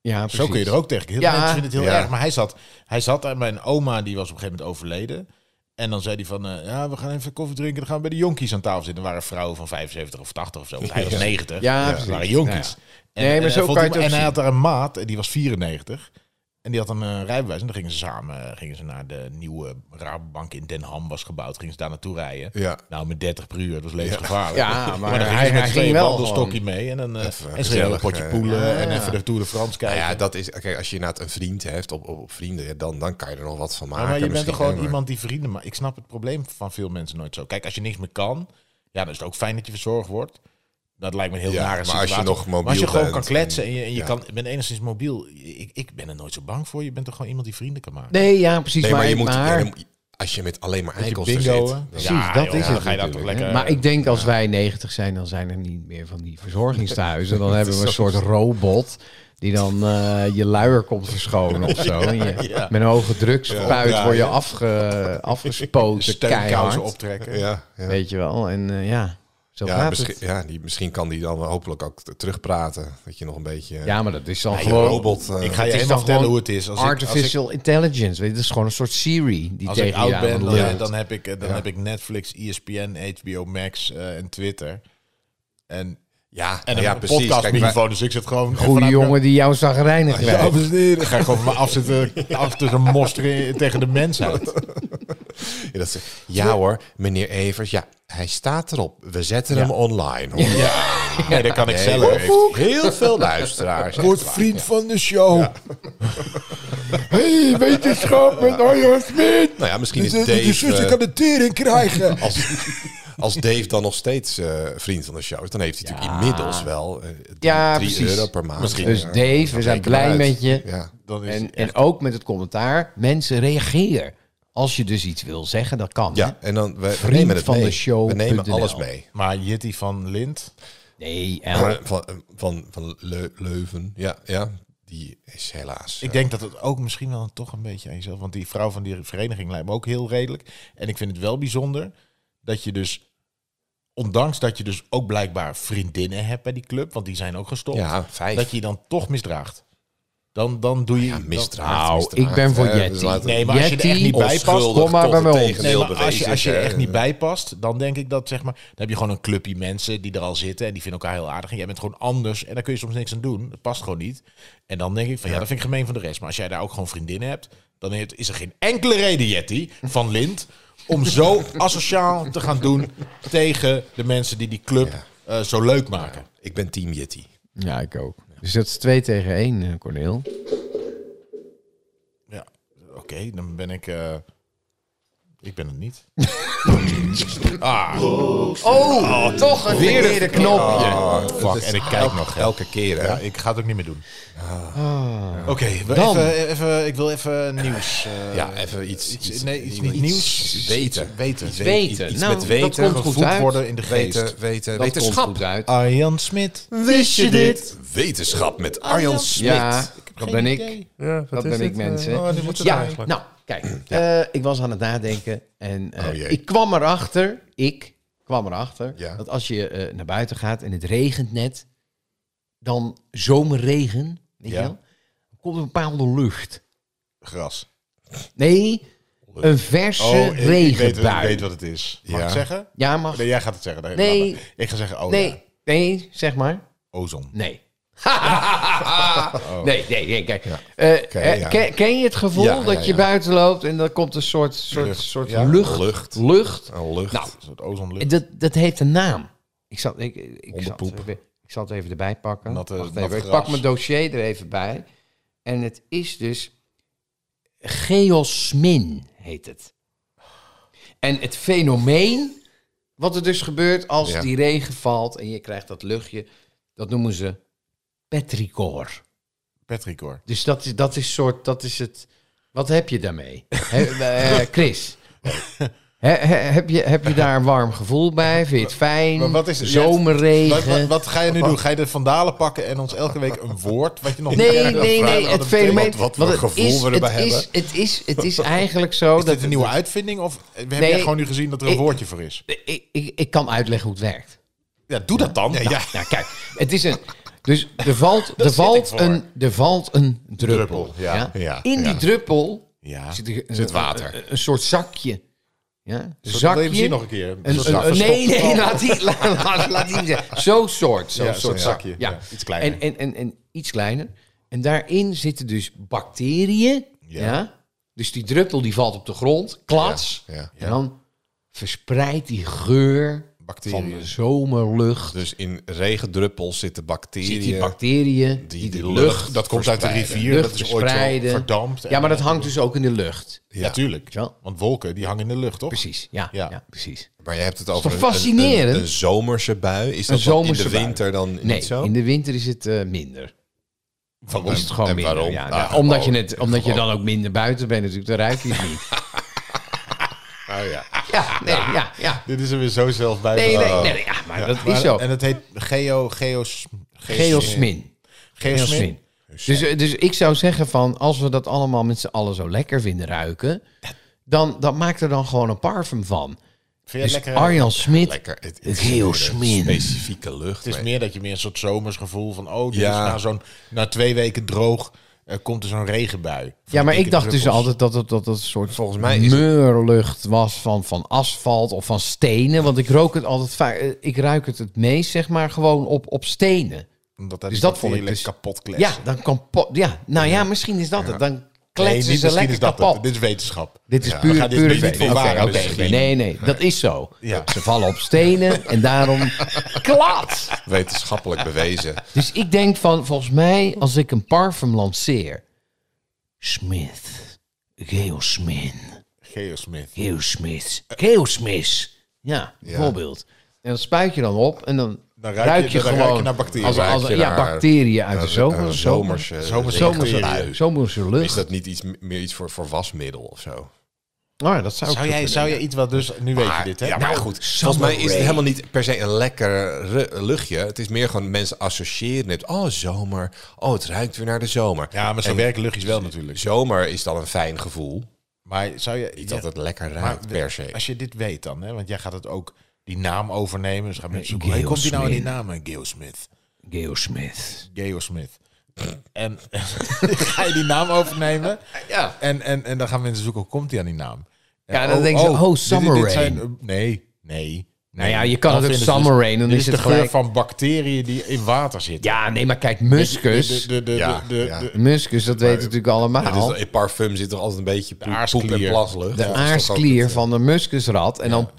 ja,
Zo kun je er ook tegen. Heel veel
Ja.
mensen vinden het heel
Ja.
erg. Maar hij zat, hij zat en mijn oma, die was op een gegeven moment overleden. En dan zei hij van, eh, ja, we gaan even koffie drinken. Dan gaan we bij de jonkies aan tafel zitten. Er waren vrouwen van 75 of 80 of zo. Want hij was 90.
Ja,
dat
precies.
waren jonkies.
Ja.
En,
Nee, maar
en
zo
hij vond
kan je
die-
het ook
En hij had
zien.
daar een maat, en die was 94. En die had een eh, rijbewijs. En dan gingen ze samen eh, gingen ze naar de nieuwe Rabobank in Den Ham was gebouwd. Gingen ze daar naartoe rijden.
Ja.
Nou, met 30 per uur, dat was levensgevaarlijk.
Ja, maar
dan
hij-
gingen ze
hij
met
ging
twee
wel
wandelstokje mee. En dan eh,
Even
en ze gingen een
gezellig,
potje
eh,
poelen
ja.
en even de Tour de France
Nou
kijken.
ja, dat is... Kijk, als je inderdaad een vriend hebt op, op, op vrienden, ja, dan, dan kan je er nog wat van maken.
Maar, maar je bent
misschien,
toch gewoon
hè, maar-
iemand die vrienden maakt. Ik snap het probleem van veel mensen nooit zo. Kijk, als je niks meer kan, ja, dan is het ook fijn dat je verzorgd wordt. Dat lijkt me een heel
Ja,
nare
maar als je
situatie.
nog mobiel
maar als je gewoon
bent
kan kletsen en je, en je
ja.
kan, je bent enigszins mobiel. Ik, ik ben er nooit zo bang voor. Je bent toch gewoon iemand die vrienden kan maken.
Nee, ja, precies.
Nee, maar,
maar,
je moet...
maar-
ja, dan- als je met alleen maar
je
eikels er
bingo'en.
zit... dan-
eh, Ja,
Precies, dat
joh,
is
dan
het
ga je daar toch
natuurlijk,
lekker-
hè. Maar ik denk als wij 90 zijn, dan zijn er niet meer van die
*laughs*
verzorgingstehuizen. Dan hebben we een soort robot die dan eh, je luier komt verschonen of zo. En je,
*laughs* Ja.
Met een hoge drugspuit
Ja,
word je
ja.
afge, afgespoten, keihard.
steunkousen optrekken.
Ja, ja.
Weet je wel, en eh, ja, zo
Ja,
gaat
misschien,
het.
ja die, misschien kan die dan hopelijk ook t- terugpraten. Dat je nog een beetje... eh,
Ja, maar dat is dan
je
gewoon...
robot...
Ik
eh,
ga je
Het is
helemaal
dan
vertellen
gewoon
hoe het is. Als ik- als ik-
artificial intelligence, weet je, dat is gewoon een soort Siri die
Als
tegen
ik oud
je aan
ben,
het
dan,
lult.
dan, heb, ik, eh, dan
Ja.
heb ik Netflix, E ESPN, HBO Max eh, en Twitter. En,
Ja, nou
en
ja,
een
precies. Kijk, wij-
podcastmicrofoon, dus ik zit gewoon...
Goeie
vanuit-
jongen die jou zag reinig
Ja,
*laughs* krijgt.
dames en heren. Ga ik gewoon maar afzitten, af tussen mosteren in- tegen de mensheid.
ja, dat is- ja hoor, meneer Evers, ja, hij staat erop. We zetten hem online. Hoor. Ja,
Nee, dat kan ik
hoor,
zelf.
heeft heel veel
*laughs*
luisteraars.
Word vriend van de show.
Hey, wetenschap met Arjan Smit.
Nou ja, misschien
Dus,
is
eh, dat je
Dave...
zusje
eh,
kan de tering krijgen.
als, *laughs* als Dave dan nog steeds eh, vriend van de show is, dan heeft hij natuurlijk inmiddels wel eh, drie-
Ja,
drie
precies.
euro per maand. eh,
Misschien.
Dus Dave, we zijn blij met je.
Ja.
*laughs* Dan is
En, en ook met het commentaar. Mensen, reageer. Als je dus iets wil zeggen, dat kan. hè?
ja, en dan we, we
Vriend
nemen het
van
mee.
de show
We nemen
punt
alles
NL.
mee.
maar Jitty van Lind,
Nee,
Maar
El.
Van, van, van Leu- Leuven, ja, ja, die is helaas... eh,
ik denk dat het ook misschien wel een- toch een beetje aan jezelf... Want die vrouw van die vereniging lijkt me ook heel redelijk. En ik vind het wel bijzonder dat je dus... Ondanks dat je dus ook blijkbaar vriendinnen hebt bij die club... want die zijn ook gestopt.
ja, vijf.
dat je je dan toch misdraagt. Dan, dan doe je...
Ja, misdraagt.
Nou,
misdraagt.
ik ben voor
Eh,
Yeti.
dus laten we-
Nee, maar als je er echt
Yeti,
niet bij past...
onschuldig
kom maar
tot
bij
het
mij om.
Nee,
tegendeel
maar als je,
bewezen
als je
is,
er
hè.
echt niet bij past, dan denk ik dat zeg maar. Dan heb je gewoon een clubje mensen die er al zitten en die vinden elkaar heel aardig. En jij bent gewoon anders en daar kun je soms niks aan doen. Dat past gewoon niet. En dan denk ik van ja, dat vind ik gemeen van de rest. Maar als jij daar ook gewoon vriendinnen hebt, dan heeft- is er geen enkele reden, Jetty van Lind, om zo asociaal te gaan doen tegen de mensen die die club eh, zo leuk maken.
Ik ben team Yeti.
Ja, ik ook. Dus dat is twee tegen één, eh, Corneel.
Ja, oké, dan ben ik. eh, ik ben het *laughs* niet. Ah.
Oh, toch een verkeerde knopje.
Ah, Fuck, en ik kijk nog. hè.
Elke keer, hè?
Ja, ik ga het ook niet meer doen. Ah. Oké, we-
Dan.
even, even, ik wil even nieuws. eh,
Ja, even iets...
iets, nee, iets niet nieuws. iets-
Weten.
iets Weten.
Iets
Weten.
Iets
Nou,
met
dat
weten.
komt goed
Gevoed
uit.
worden in de geest.
Weten, weten,
Dat komt
wetenschap.
goed uit.
Arjan Smit.
Wist je dit? Wetenschap met Arjan Smit.
Ja, dat ben ik. Dat ben ik, mensen.
Oh,
Ja, nou, kijk. eh, ik was aan het nadenken en eh,
Oh, jee.
ik kwam erachter, ik kwam erachter,
Ja.
dat als je eh, naar buiten gaat en het regent net, dan zomerregen, weet
Ja.
je wel, dan komt een bepaalde lucht.
Gras.
Nee, een verse
Oh, ik- ik, weet,
regenbui.
ik weet wat het is. Mag
Ja.
ik zeggen?
Ja, mag...
Nee, jij gaat het zeggen.
Nee.
laat maar. Ik ga zeggen, oh
nee,
ja,
nee, zeg maar.
ozon.
Nee.
*laughs*
*laughs* Oh. nee, nee, nee, kijk. Eh,
Oké,
eh,
ja.
ken, ken je het gevoel
Ja, ja,
dat je
ja.
buiten loopt en dan komt een soort, soort,
Lucht,
soort
ja.
lucht,
Lucht.
lucht
Een lucht.
Nou,
Een soort ozonlucht.
En Dat, dat heeft een naam. Ik zal, ik, ik, zal, het
Hondenpoep.
even, ik zal het even erbij pakken.
Natte-
Wacht
nat
even. Ik
gras.
pak mijn dossier er even bij. En het is dus geosmin, heet het. En het fenomeen, wat er dus gebeurt als
Ja.
die regen valt en je krijgt dat luchtje, dat noemen ze petrichor.
Patrick hoor.
Dus dat is, dat is soort, dat is het. Wat heb je daarmee? He, *laughs* eh, Chris. He- he- heb, je, heb je daar een warm gevoel bij? Vind je het fijn?
Maar wat is het? Wat,
Zomerregen?
wat, wat ga je nu doen? Ga je de vandalen pakken en ons elke week een woord wat je nog niet
Nee,
eerder
nee,
gevraagd
nee.
had,
Het
een
fenomeen.
thema-
wat voor
want het
gevoel
is-
we
het
erbij
is- Het is, het is eigenlijk zo
Is
dat
dit een nieuwe uitvinding of heb jij
Nee.
gewoon nu gezien dat er een
Ik-
woordje voor is?
ik, ik, ik kan uitleggen hoe het werkt.
Ja, doe dat dan. Ja, ja.
Nou, kijk, het is een. Dus er valt, er valt,
voor.
een, er valt een druppel.
Druppel, ja, ja,
In die
ja.
druppel
Ja.
zit, er-
Zit water.
Een, een soort zakje. Ja? Een
Wil je hem
zakje.
zien nog een keer?
Een-
Zo'n
een- een- nee,
verstopt-
nee, laat die, *laughs* laat, laat, laat die zeggen. *laughs* Zo'n soort. Zo'n
Ja,
soort
zo'n zakje.
zakje. Ja.
Ja, iets kleiner.
En, en, en, en iets kleiner. En daarin zitten dus bacteriën.
Ja.
Ja. Dus die druppel die valt op de grond. Klats.
Ja, ja.
En dan verspreidt die geur van
Bacteriën.
de zomerlucht.
Dus in regendruppels zitten bacteriën.
Zit die bacteriën, die,
die
de
lucht-
lucht.
Oh, Dat komt uit de
verspreiden.
rivier, dat
Lucht
is ooit zo
verspreiden.
verdampt.
Ja, maar dat hangt dus ook in de lucht.
Ja, tuurlijk.
Ja.
Want wolken, die hangen in de lucht, toch?
Precies, ja.
Ja.
ja. precies.
maar je hebt het over
toch
een- een-
fascinerend?
Een, een zomerse bui. Is dat
Een
dan in
zomerse
de
bui.
winter dan
Nee,
niet zo?
in de winter is het eh, minder.
Van
Is het gewoon
en
minder.
waarom?
Ja,
Nou,
nou, omdat
gewoon-
je, het, omdat je dan ook minder buiten bent natuurlijk, dan ruik je het
*laughs*
niet.
Ah, ja. Oh.
ja, nee, ja, ja.
Dit is er weer zo zelf bij.
Nee, nee,
bedacht.
nee, nee, ja, maar
Ja,
dat
maar-
is zo.
En het heet geo... geos, geos-
Geosmin.
Geosmin.
Geosmin. Dus, eh, dus ik zou zeggen van, als we dat allemaal met z'n allen zo lekker vinden ruiken, dan dat maakt er dan gewoon een parfum van.
Vind jij
Dus
lekker? eh,
Arjan Smit,
Lekker. Het, het
het
is weer een
geosmin.
Specifieke lucht.
Het is
maar-
meer dat je meer een soort zomersgevoel van... Oh, dit
Ja.
is na, zo'n, na twee weken droog eh, komt er zo'n regenbui. Van
Ja, maar
dikke
ik dacht dus
druppels.
altijd dat het dat, dat een soort
Volgens
volgens
mij
mij
is het-
meurlucht was van, van asfalt of van stenen. Want ik rook het altijd vaak. eh, Ik ruik het het meest, zeg maar, gewoon op, op stenen.
Omdat daar
Dus
die
dat vond ik
bacteriën
dus-
kapot kletsen.
Ja, dan kan. po- Ja, nou ja, misschien is dat het. Dan
Nee,
kletsen
niet
ze
misschien
lekker
is dat
kapot.
het. Dit is wetenschap.
Dit is
Ja, we
puur
gaan dit
pure
niet
feit. Oké,
bewaren,
oké,
misschien.
Nee, nee, dat is zo.
Ja.
Ze vallen op stenen en
*laughs*
daarom klats.
Wetenschappelijk
*laughs*
bewezen.
Dus ik denk van, volgens mij, als ik een parfum lanceer. Smith. Geosmin.
Geosmin.
Geosmis. Geosmis. Ja, bijvoorbeeld. En dat spuit je dan op en dan,
Dan ruik
ruik,
je- dan
je,
ruik je
gewoon
naar bacteriën.
Als, als,
Ruik je
ja,
naar-
bacteriën uit de zomer.
Een
Zomer.
zomerse,
zomerse
Zomerse,
bacteriën.
zomerse
Is
lucht.
dat niet iets, meer iets voor, voor wasmiddel of zo?
Nou, ja, dat zou,
Zou jij, zou jij iets wat dus... Nu weet je dit, hè?
Ja, maar goed. Volgens mij is het helemaal niet per se een lekker ru- luchtje. Het is meer gewoon mensen associëren het. Oh, zomer. Oh, het ruikt weer naar de zomer.
Ja, maar zo
En
werken luchtjes wel natuurlijk.
Zomer is dan een fijn gevoel.
Maar zou je...
Niet
ja,
dat het lekker
maar
ruikt per se.
Als je dit weet dan, hè? Want jij gaat het ook die naam overnemen. Dus gaan mensen zoeken.
Geo
Hey, komt die nou in die
Smith.
naam? Geosmith.
Geosmith.
Geosmith. En *laughs* ga je die naam overnemen?
Ja.
En, en, en dan gaan mensen zoeken, hoe komt hij aan die naam? En,
Ja, dan denken ze, oh,
dit-
Summer
dit zijn- eh,
Rain.
nee, nee.
Nou ja, je kan het ook
vinden ze dus
Summer Rain, dan
dit
is
de
het
geur
gelijk-
van bacteriën die in water zitten.
Ja, nee, maar kijk,
De,
muskus.
de, de, de,
Ja,
de, de-
ja.
de-
muskus, dat weten we natuurlijk
Het is
allemaal.
dan- Dus in parfum zit toch altijd een beetje poep,
aarsklier.
poep en
Nou.
plaslucht.
De
Ja,
aarsklier van de muskusrat. En, dan,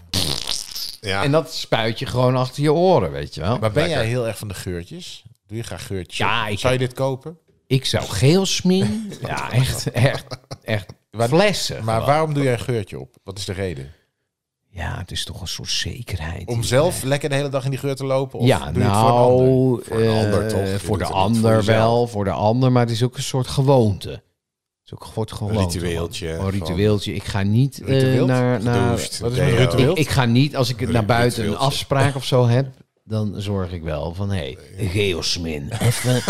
Ja.
en dat spuit je gewoon achter je oren, weet je wel.
Maar ben jij heel erg van de geurtjes? Doe je graag geurtjes?
Ja,
op?
ik
Zou je dit kopen?
Ik zou geelsmin. ja, echt, echt, echt. Flessen.
Maar waarom doe jij een geurtje op? Wat is de reden?
Ja, het is toch een soort zekerheid.
Om zelf lekker de hele dag in die geur te lopen? Of
ja,
doe je
nou,
het voor een ander?
Voor een
eh,
ander toch? Je
Voor
doet
de
het niet voor
ander
jezelf.
wel, voor de ander, maar het is ook een soort gewoonte. Het is ook een soort gewoonte.
ritueeltje
gewoon.
van-
Een ritueeltje. Ik ga niet eh,
Ritueel?
naar... naar
Gedoucht,
Wat is een
deo.
ritueel?
ik, ik ga niet, als ik naar buiten een
ritueeltje.
afspraak of zo heb, dan zorg ik wel van, hé, hey, geosmin. *laughs* Even,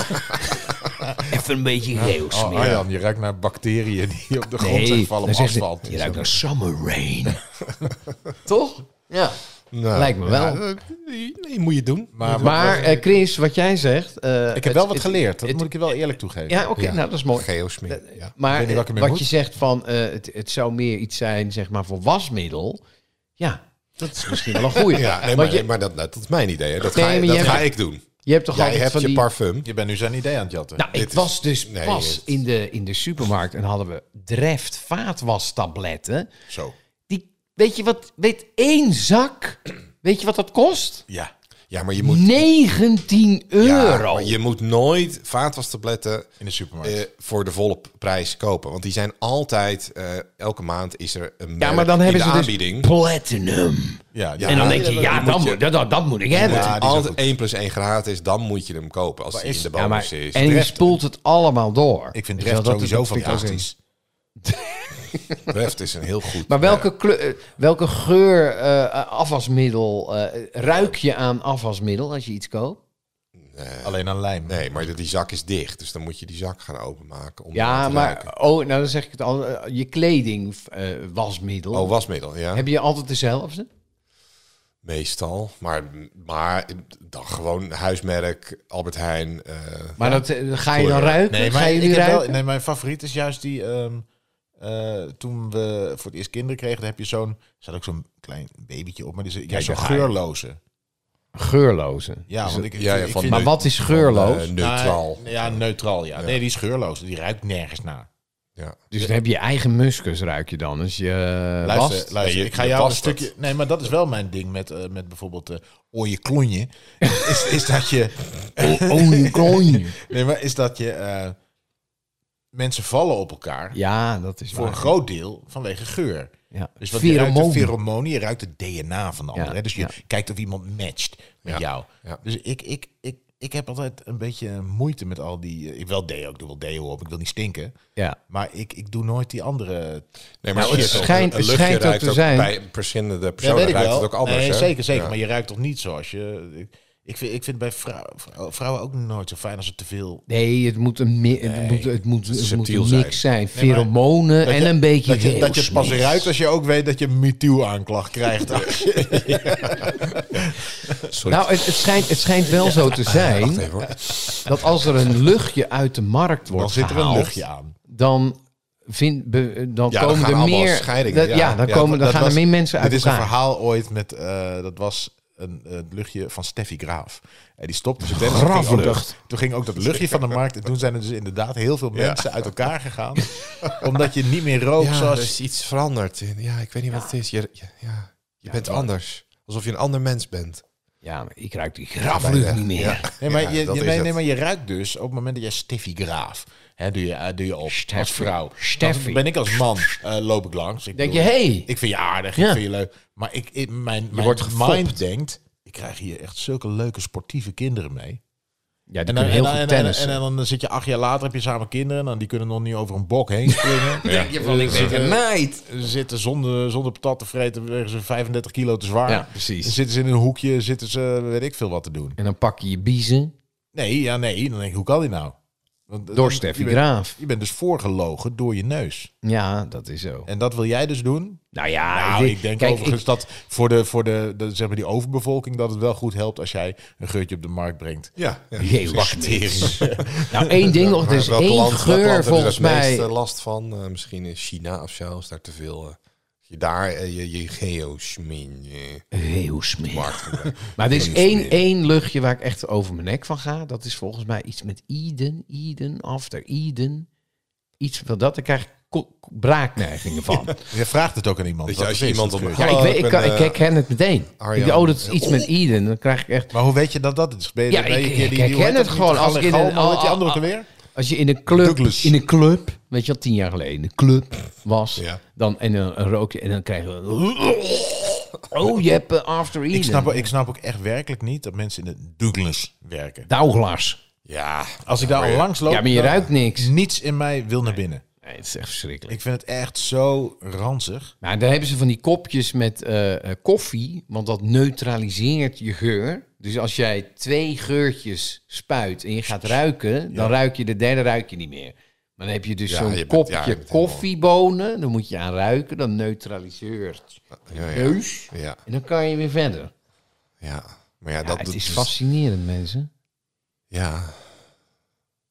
even een beetje geosmin.
Oh, Arjan, je ruikt naar bacteriën die op de grond
Nee,
zijn vallen op
dan zegt ze,
asfalt.
Je ruikt naar summer rain. Toch? Ja.
Nou,
Lijkt me wel.
ja, eh, nee, moet je doen.
Maar,
Maar eh, Chris, wat jij zegt... eh,
ik heb
het-
wel wat
het-
geleerd. Dat
het-
moet ik je wel eerlijk toegeven.
Ja, oké,
Ja.
nou dat is mooi.
Geosmin. Ja.
Ik weet
Maar
niet wat ik
eh,
ermee
wat
moet.
je zegt van eh, het, het zou meer iets zijn zeg maar, voor wasmiddel. Ja, dat is misschien wel een goeie.
*laughs* Ja, nee,
Want
maar,
je,
nee, maar dat, dat is mijn idee. Hè. Dat,
Nee,
ga, je-
maar
dat
je
ga
hebt-
ik doen.
je hebt toch
Jij
altijd
hebt
van
je
die...
parfum.
Je bent nu zijn idee aan het jatten.
Nou, ik
Dit is-
was dus
nee,
pas
dit-
in de, in de supermarkt en hadden we Dreft vaatwastabletten.
Zo.
Die, weet je wat, weet één zak, weet je wat dat kost?
Ja.
Ja, maar je moet,
19
ja,
euro.
maar je moet nooit vaatwastabletten
In de supermarkt.
eh, voor de volle p- prijs kopen. Want die zijn altijd, eh, elke maand is er een
Ja,
merk
maar dan
in
hebben
de
ze
aanbieding.
dus platinum.
ja,
ja.
ja.
En dan denk je,
dat-
ja,
dat moet
dat,
je-
moet, dat, dat, dat moet ik hebben.
Ja, die is ook
Altijd
goed.
1 plus 1 gratis, dan moet je hem kopen als hij
is-
in de
Ja,
bonus
maar,
is.
en je spoelt het allemaal door.
Ik vind
Weet je wel,
Dreft
dat is-
sowieso
dat vind ik ook
fantastisch.
Reft is een heel goed.
Maar welke, kleur, eh, welke geur eh, afwasmiddel eh, ruik je aan afwasmiddel als je iets koopt?
Alleen aan lijm.
eh, Nee, maar die- die zak is dicht, dus dan moet je die zak gaan openmaken. Om
Ja,
eraan te
maar
ruiken.
oh, nou dan zeg ik het al. eh, Je kleding, eh, wasmiddel.
Oh, wasmiddel, ja.
Heb je altijd dezelfde?
Meestal. Maar, maar dan gewoon huismerk, Albert Heijn. eh,
Maar dat eh, ga je dan
Goeie.
ruiken?
Nee,
ga
maar
je
ik
die
heb wel-
ruiken?
nee, mijn favoriet is juist die. ehm, eh, toen we voor het eerst kinderen kregen, dan heb je zo'n. Er zat ook zo'n klein babytje op, maar die is juist zo'n
daar ga je.
geurloze.
Geurloze.
Ja, want ik,
ja, ja,
ik
van-
Maar
Nee.
wat is geurloos?
eh, neutraal.
Nou, ja, neutraal. Ja. Nee, die is geurloos. Die ruikt nergens naar.
ja.
dus dan heb je eigen muskus ruik je dan. Dus je eh,
Luister,
wast.
luister
Nee, je-
ik ga
je
jou een
past het.
stukje. Nee, maar dat is wel mijn ding met, eh, met bijvoorbeeld eh ooie klonje. is, is dat je.
Oh,
*laughs*
klonje.
Nee, maar is dat je. eh, mensen vallen op elkaar.
Ja, dat is
Voor
waar.
een groot deel vanwege geur.
ja.
Dus wat je ruikt de
Pheromonen.
feromonie, je ruikt het DNA van de ander. hè? Dus je
ja.
kijkt of iemand matcht met
Ja,
jou.
ja.
Dus ik, ik, ik, ik heb altijd een beetje moeite met al die... eh, Ik wil deo, ik doe wel deo op, ik wil niet stinken.
Ja.
Maar ik, ik doe nooit die andere...
Nee,
Nou, het
shit, ook
schijnt-
een
het
luchtje
schijnt ook
ruikt
te zijn.
Bij verschillende
Ja,
personen
weet ik
ruikt
wel.
het ook anders.
nee,
hè?
zeker, zeker.
Ja.
Maar je ruikt toch niet zoals je... Ik, ik vind, ik vind bij vrou- vrou- vrouwen ook nooit zo fijn als het te veel...
Nee, het moet een, mi- het moet, het moet, het moet
subtiel
een mix zijn.
Nee, maar-
Pheromonen
Dat
en
je-
een beetje
dat je, dat je
weeuwsmix.
pas ruikt als je ook weet dat je een MeToo-aanklacht krijgt.
Sorry.
Nou, het, het, schijnt, het schijnt wel zo te zijn
Wacht even hoor.
dat als er een luchtje uit de markt
Dan
wordt
zit er een
gehaald,
luchtje aan.
dan, vind, be- dan
Ja, dan
komen
gaan
er
allemaal
meer
scheidingen,
dat-
ja.
ja, dan,
Ja,
komen,
dat-
dan
dat
gaan
was-
er meer mensen uit
Dit is een
elkaar.
verhaal ooit met, eh, dat was een, een luchtje van Steffi Graaf. En die stopte zijn tennis.
Graaflucht.
Toen ging ook dat- Toen ging ook dat luchtje van de markt. En toen zijn er dus inderdaad heel veel
Ja.
mensen uit elkaar *laughs* gegaan. omdat je niet meer rookt
Ja, er
zoals...
is iets veranderd. Ja, ik weet niet wat het is. Je, ja, ja. je bent anders. Alsof je een ander mens bent.
Ja, maar ik ruik die graflucht niet meer.
Nee, maar,
Ja,
je,
dat
je-
is
nee,
het.
nee, maar je ruikt dus op het moment dat jij Steffi Graaf... Hè, doe, je, eh, doe je op als
Steffi.
vrouw.
Steffi.
Dan ben ik als man, eh, loop ik langs. Ik
Denk je,
bedoel,
hey,
Ik vind je aardig,
Ja.
ik vind je leuk. Maar ik, ik- mijn, mijn
wordt gefopt.
mind denkt... Ik krijg hier echt zulke leuke sportieve kinderen mee.
ja, die
En dan,
kunnen
en,
heel
dan,
goed
en, dan-
tennissen.
en, dan dan zit je acht jaar later, heb je samen kinderen. En dan, die kunnen nog niet over een bok heen
*laughs*
springen.
Ja.
je van, ik ben genaaid.
Ze zitten zonder, zonder patat te vreten, wegen ze 35 kilo te zwaar.
Ja,
Dan
precies.
zitten ze in een hoekje, zitten ze, weet ik veel wat te doen.
En dan pak je je biezen
Nee, ja, nee. Dan denk ik, hoe kan dit nou? Want, dan-
door Steffi
je bent-
Graaf.
Je bent dus voorgelogen door je neus.
Ja, dat is zo.
En dat wil jij dus doen?
Nou ja,
nou,
dit-
ik denk
kijk,
overigens dat voor, de, voor de, de, zeg maar die overbevolking... dat het wel goed helpt als jij een geurtje op de markt brengt.
Ja. ja.
Bacteriën.
*laughs*
Nou, één ding nog. Er is
Welk
één
land- welk land hebben
geur
we
volgens
daar het
mij.
meeste last van. Eh, misschien in China of zo. Is daar te veel. eh, je daar eh, je, je geosmin. eh,
Heel smerig.
markt gebruikt.
*laughs* Maar er is
Heel
één,
smerig.
één luchtje waar ik echt over mijn nek van ga. Dat is volgens mij iets met Eden, Eden, After Eden. Iets van dat. Daar krijg ik ko- ko- braakneigingen
*laughs*
van.
Je vraagt het ook aan iemand.
Weet je,
wat
als
het
je
is,
iemand
dat
op-
geurtje.
Ja,
Hallo,
ik, weet,
ik
ik,
ben,
kan- ik
eh,
herken het meteen.
Arjan.
Ik- oh, dat is iets met Eden. Dan krijg ik echt...
Maar hoe weet je dat dat is? Ben je,
Ja,
ben je
ik-
een keer
ik herken
hoe heet
het
dat?
gewoon.
Die
Als ik in
Gal-
een-
hoe heet die
ah,
andere
ah,
ook alweer?
Als je in een club,
Douglas.
in een club, weet je wel, tien jaar geleden, in een club was,
Ja.
dan en dan rook je en dan krijg je, oh je hebt eh, after Eden,
Ik snap, ik snap ook echt werkelijk niet dat mensen in de Douglas werken.
Douglas.
Ja.
Als ik daar al langs loop,
Ja, maar je
dan-
ruikt niks.
Niets in mij wil naar binnen.
Nee, het is echt verschrikkelijk.
Ik vind het echt zo ranzig.
Nou, daar hebben ze van die kopjes met eh, eh, koffie, want dat neutraliseert je geur. Dus als jij twee geurtjes spuit en je gaat ruiken, dan ruik je de derde ruik je niet meer. Maar dan heb je dus
Ja,
zo'n
je bent-
kopje
ja, je bent helemaal-
koffiebonen, dan moet je aan ruiken, dan neutraliseert je
Ja, ja.
neus.
Ja.
En dan kan je weer verder.
ja. Maar ja,
Ja,
dat dus-
het
dat
is fascinerend, mensen.
Ja.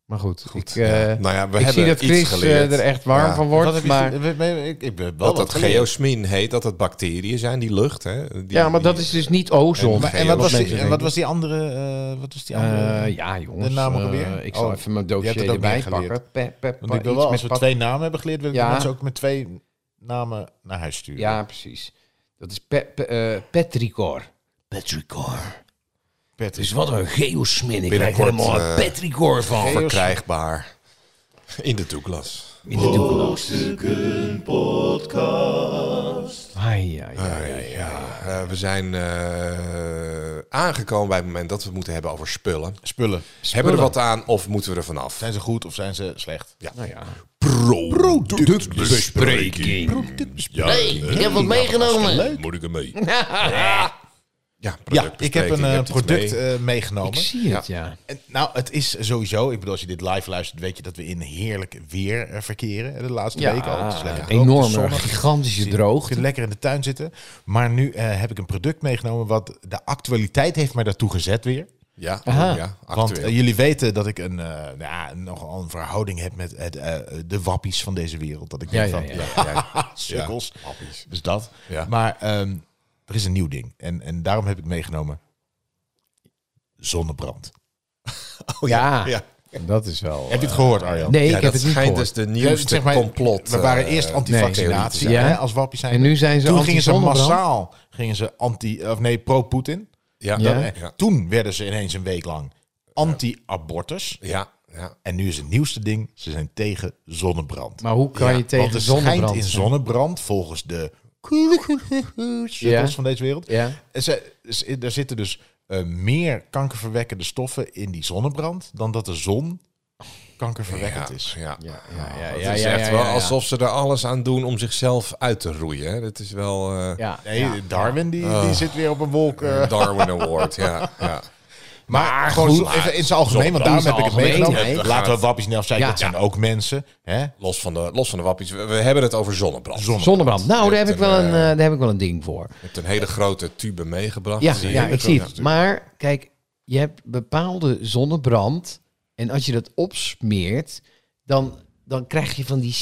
Maar goed,
Goed,
ik, eh,
ja. Nou ja, we
ik
hebben
zie dat
iets
Chris eh,
geleerd.
er echt warm
Ja.
van
Wat heb
wordt.
je-
Maar,
we- we- ik, ik ben wel
Dat
wat
dat
geleerd.
geosmin heet, dat het bacteriën zijn, die lucht. Hè? Die-
ja, maar dat
die-
is dus niet ozon.
Maar, en wat was, die,
mensen
en wat
denken.
was die andere? eh, wat was die andere?
Eh, ja, jongens.
De naam ook
eh,
alweer?
ik zal
Oh,
even mijn
je hebt
dossier
het ook
erbij
niet geleerd.
pakken. Pe- pe-
Want ik
pa-
wil wel,
iets
als
met
we
pat-
twee namen hebben geleerd, wil ik
Ja.
mensen ook met twee namen naar huis sturen.
Ja, precies. Dat is pe- pe- eh, petricor. Petricor.
Patrick.
Dus wat een geosmin. Ik krijg
Binnenkort,
helemaal een
eh,
petrichor van.
verkrijgbaar in de toeklas.
In de toekomst. podcast. Ai, ai, ai.
Ah,
Eh, we zijn eh, aangekomen bij het moment dat we het moeten hebben over spullen.
Spullen.
Hebben we er wat aan of moeten we er vanaf?
Zijn ze goed of zijn ze slecht?
Nou ja.
Productbespreking.
Ja,
ik heb wat meegenomen.
Moet ik hem mee? Ja,
ja ik heb een
productbespreking, je
eh,
hebt iets
product
mee.
eh, meegenomen.
Ik zie het, ja.
En, nou, het is sowieso. Ik bedoel, als je dit live luistert, weet je dat we in heerlijk weer eh, verkeren. De laatste
Ja,
week al. Het is lekker droog, het is
enorme,
zonnig.
gigantische
Ik vind
droogte.
het lekker in de tuin zitten. Maar nu eh, heb ik een product meegenomen wat de actualiteit heeft mij daartoe gezet weer.
Ja, oh,
Aha.
ja
Want
actueel.
eh, jullie weten dat ik een, eh, nou ja, nogal een verhouding heb met het, eh, de wappies van deze wereld. Dat ik
Ja,
denk
ja,
van,
ja.
Ja, ja.
*laughs*
sukkels.
Ja, wappies.
Dus dat.
Ja.
Maar ehm, er is een nieuw ding. En, en daarom heb ik meegenomen zonnebrand. Oh,
ja.
ja.
dat is wel...
heb je het gehoord, Arjan?
Nee,
Ja,
ik heb
dat
het niet
schijnt
gehoord.
dus de nieuwste
Zeg maar,
complot.
We waren
eh,
eerst anti-vaccinatie
nee,
hè,
ja.
als wappies zijn.
En nu zijn ze
Toen gingen ze
anti-zonnebrand.
massaal gingen ze anti, of nee, pro-Poetin.
Ja,
Ja.
ja.
Eh, Toen werden ze ineens een week lang anti-abortus.
Ja, ja.
En nu is het nieuwste ding, ze zijn tegen zonnebrand.
Maar hoe kan
Ja,
je
Want
tegen
het
zonnebrand...
schijnt in
zijn?
zonnebrand, volgens de sukkels
*laughs* Ja.
van deze wereld,
Ja.
En Ze, ze- er zitten dus eh, meer kankerverwekkende stoffen in die zonnebrand dan dat de zon kankerverwekkend
Ja,
is.
ja. Ah,
Ja, ja, ja,
Het
ja,
is
ja,
echt
ja,
wel
ja.
alsof ze er alles aan doen om zichzelf uit te roeien. hè. Dat is wel eh,
Ja,
Nee,
ja.
Darwin die, die zit weer op een wolk. eh.
Darwin Award. ja, ja.
maar, gewoon
goed,
zo- even in zijn algemeen, want daarom heb ik het
algemeen,
meegenomen.
hè.
Laten we wappies niet afzeiken,
Ja.
dat zijn ook mensen. Hè?
Los, van de, los van de wappies. We, we hebben het over zonnebrand.
Zonne-
Zonnebrand. Nou, daar heb, ik
Een,
wel een,
eh,
eh, daar heb ik wel een ding voor.
Je hebt een hele grote tube meegebracht.
Ja,
Dus die-
ja ik zie het. Maar kijk, je hebt bepaalde zonnebrand. En als je dat opsmeert, dan, dan krijg je van die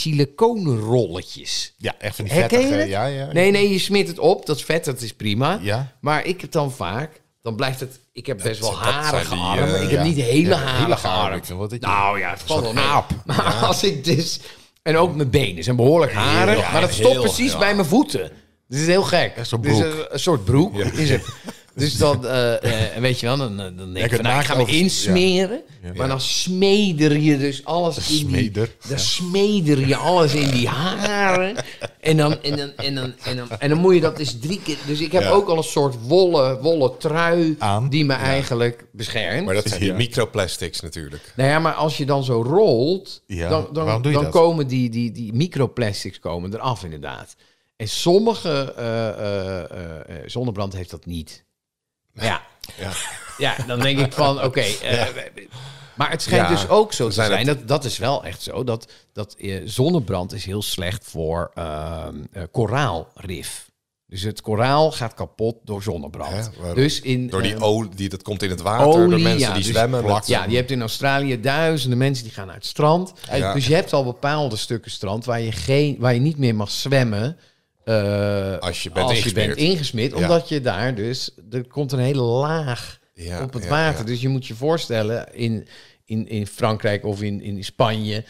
siliconenrolletjes.
Ja, echt van die
Herken je
vettige.
het?
Ja, ja, ja.
Nee, nee, je smeert het op. Dat is vet, dat is prima.
Ja.
Maar ik heb dan vaak, dan blijft het... Ik heb best wel
dat zijn
harige
die, eh,
armen. ik heb
ja.
niet hele
Ja, hele
harige
haren,
armen.
ik vind wel dat je-
Nou ja, het valt wel mee. *laughs* Maar als ik dus... En ook mijn benen zijn behoorlijk harig.
ja,
maar dat
heel,
stopt precies
ja.
bij mijn voeten. Dus het is heel gek.
zo'n
Dus
broek.
een, een soort broek is het. Dus dan, eh, eh, weet je wel, dan, dan denk ik,
kunt
van, nou, ik
naakt
ga me
over-
insmeren. Maar dan smeder je dus alles in die...
Smeder.
Dan smeder je alles in die haren. En dan, en, dan, en, dan, en, dan, en dan moet je dat dus drie keer... Dus ik heb ook al een soort wollen, wollen trui
Aan.
die me eigenlijk beschermt.
Maar dat zijn die
Ja.
microplastics natuurlijk.
Nou ja, maar als je dan zo rolt,
Ja,
dan, dan,
waarom doe je
dan
dat?
komen die, die, die microplastics komen eraf inderdaad. En sommige eh, eh, eh, eh, zonnebrand heeft dat niet. Ja.
Ja.
ja. dan denk ik van, oké. eh, Maar het schijnt
Ja,
dus ook zo te
zijn
zijn. Dat, dat is wel echt zo. Dat, dat eh, zonnebrand is heel slecht voor ehm, eh, koraalrif. Dus het koraal gaat kapot door zonnebrand.
Hè, waarom?
dus in,
Door die
eh,
olie, die, dat komt in het water. door
olie,
mensen
ja,
die
dus
zwemmen. met-
ja, je hebt in Australië duizenden mensen die gaan naar het strand.
Ja.
Dus je hebt al bepaalde stukken strand waar je, geen, waar je niet meer mag zwemmen. eh,
Als je bent
als je
ingesmeerd.
bent ingesmeerd.
Ja.
Omdat je daar dus... Er komt een hele laag
Ja,
op het
ja,
water.
ja.
Dus je moet je voorstellen in, in, in Frankrijk of in, in Spanje...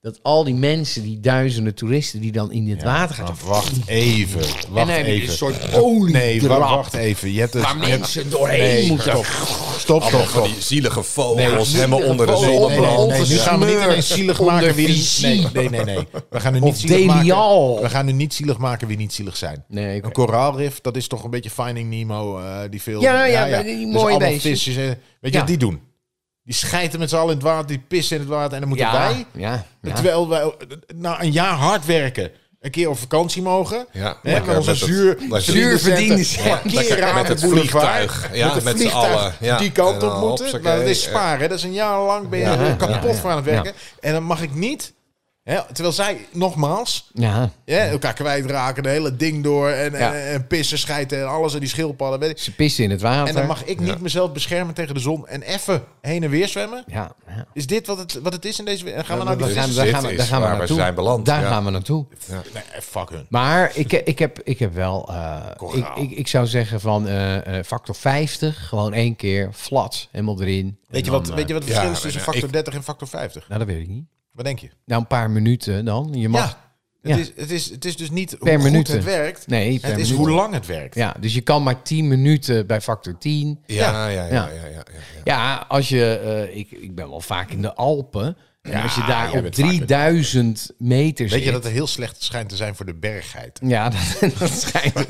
dat al die mensen, die duizenden toeristen... die dan in het water gaan...
Maar Ah, Wacht even, wacht
dan heb je
even.
een soort oliedraad.
Nee, wa- wacht even. Je hebt het,
Oh,
waar
je hebt-
mensen doorheen
Nee,
moeten... Oh,
stop. Stop,
Allemaal
stop,
van
stop.
die zielige vogels
Nee,
helemaal onder de
zielige
Nee, nee, nee,
zonnebrand.
nee, nu gaan we niet ineens zielig maken wie niet... Nee,
Onbesmeurd.
nee, nee, nee. We gaan nu niet
Of
zielig maken...
Delial.
We gaan nu niet zielig maken wie niet zielig zijn.
Nee, oké.
Een koraalrif, dat is toch een beetje Finding Nemo, eh, die film.
Ja, ja, die mooie
allemaal
beestjes.
visjes. eh, Weet je
Ja.
wat die doen? Die schijten met z'n allen in het water, die pissen in het water. En dan moeten wij,
ja, ja.
terwijl wij eh, na een jaar hard werken, een keer op vakantie mogen...
Ja,
Hè,
lekker
met onze
met het-
zuur,
lekker-
Zuur verdiende centen.
Keren aan
Met
de
het
boulevard,
vliegtuig.
met,
Ja, met
het
z'n
vliegtuig
allen. Ja.
die kant
En
op
dan
moeten.
hopsakee,
Maar dat is
ja.
zwaar, hè? Dat is een jaar lang ben je
Ja,
er
ja,
kapot
ja,
van aan het
ja.
werken. En dan mag ik niet... Hè, terwijl zij, nogmaals,
Ja.
Ja, elkaar kwijtraken, de hele ding door. En,
Ja.
en, en pissen, schijten en alles en die schildpadden. Weet ik.
Ze pissen in het water.
En dan mag ik niet mezelf beschermen tegen de zon en even heen en weer zwemmen.
Ja, ja.
Is dit wat het, wat het is in deze... we- En gaan we
Ja,
nou
Daar
die
dat
gaan,
is-
daar
dit
gaan we,
is
daar gaan we
waar we
naartoe.
zijn beland,
Daar
ja.
gaan we naartoe.
Nee, fuck hun.
Maar ik, eh, ik, heb, ik heb wel... eh, ik,
Koraal.
ik, ik zou zeggen van eh, eh, factor 50. Gewoon één keer. Flat. Helemaal erin. En
Weet je
dan,
wat,
eh,
weet je wat het verschil
ja,
is tussen
ja,
factor
ik-
30 en factor 50?
Nou, dat weet ik niet.
Wat denk je?
Nou, een paar minuten dan. Je mag,
Ja. Het,
Ja.
is, het, is, het is dus niet hoe
Per
goed
minuten.
het werkt.
Nee,
het
per
is
minuut.
hoe lang het werkt.
Ja, dus je kan maar 10 minuten bij factor 10.
Ja, ja, ja,
Ja.
ja, ja, ja, ja.
Ja, als je, eh, ik, ik ben wel vaak in de Alpen. En
Ja,
als je
jij
daar op
bent vaak in de
3000 meter zit.
Weet je dat het heel slecht schijnt te zijn voor de bergheid?
Ja, *laughs* dat, dat schijnt.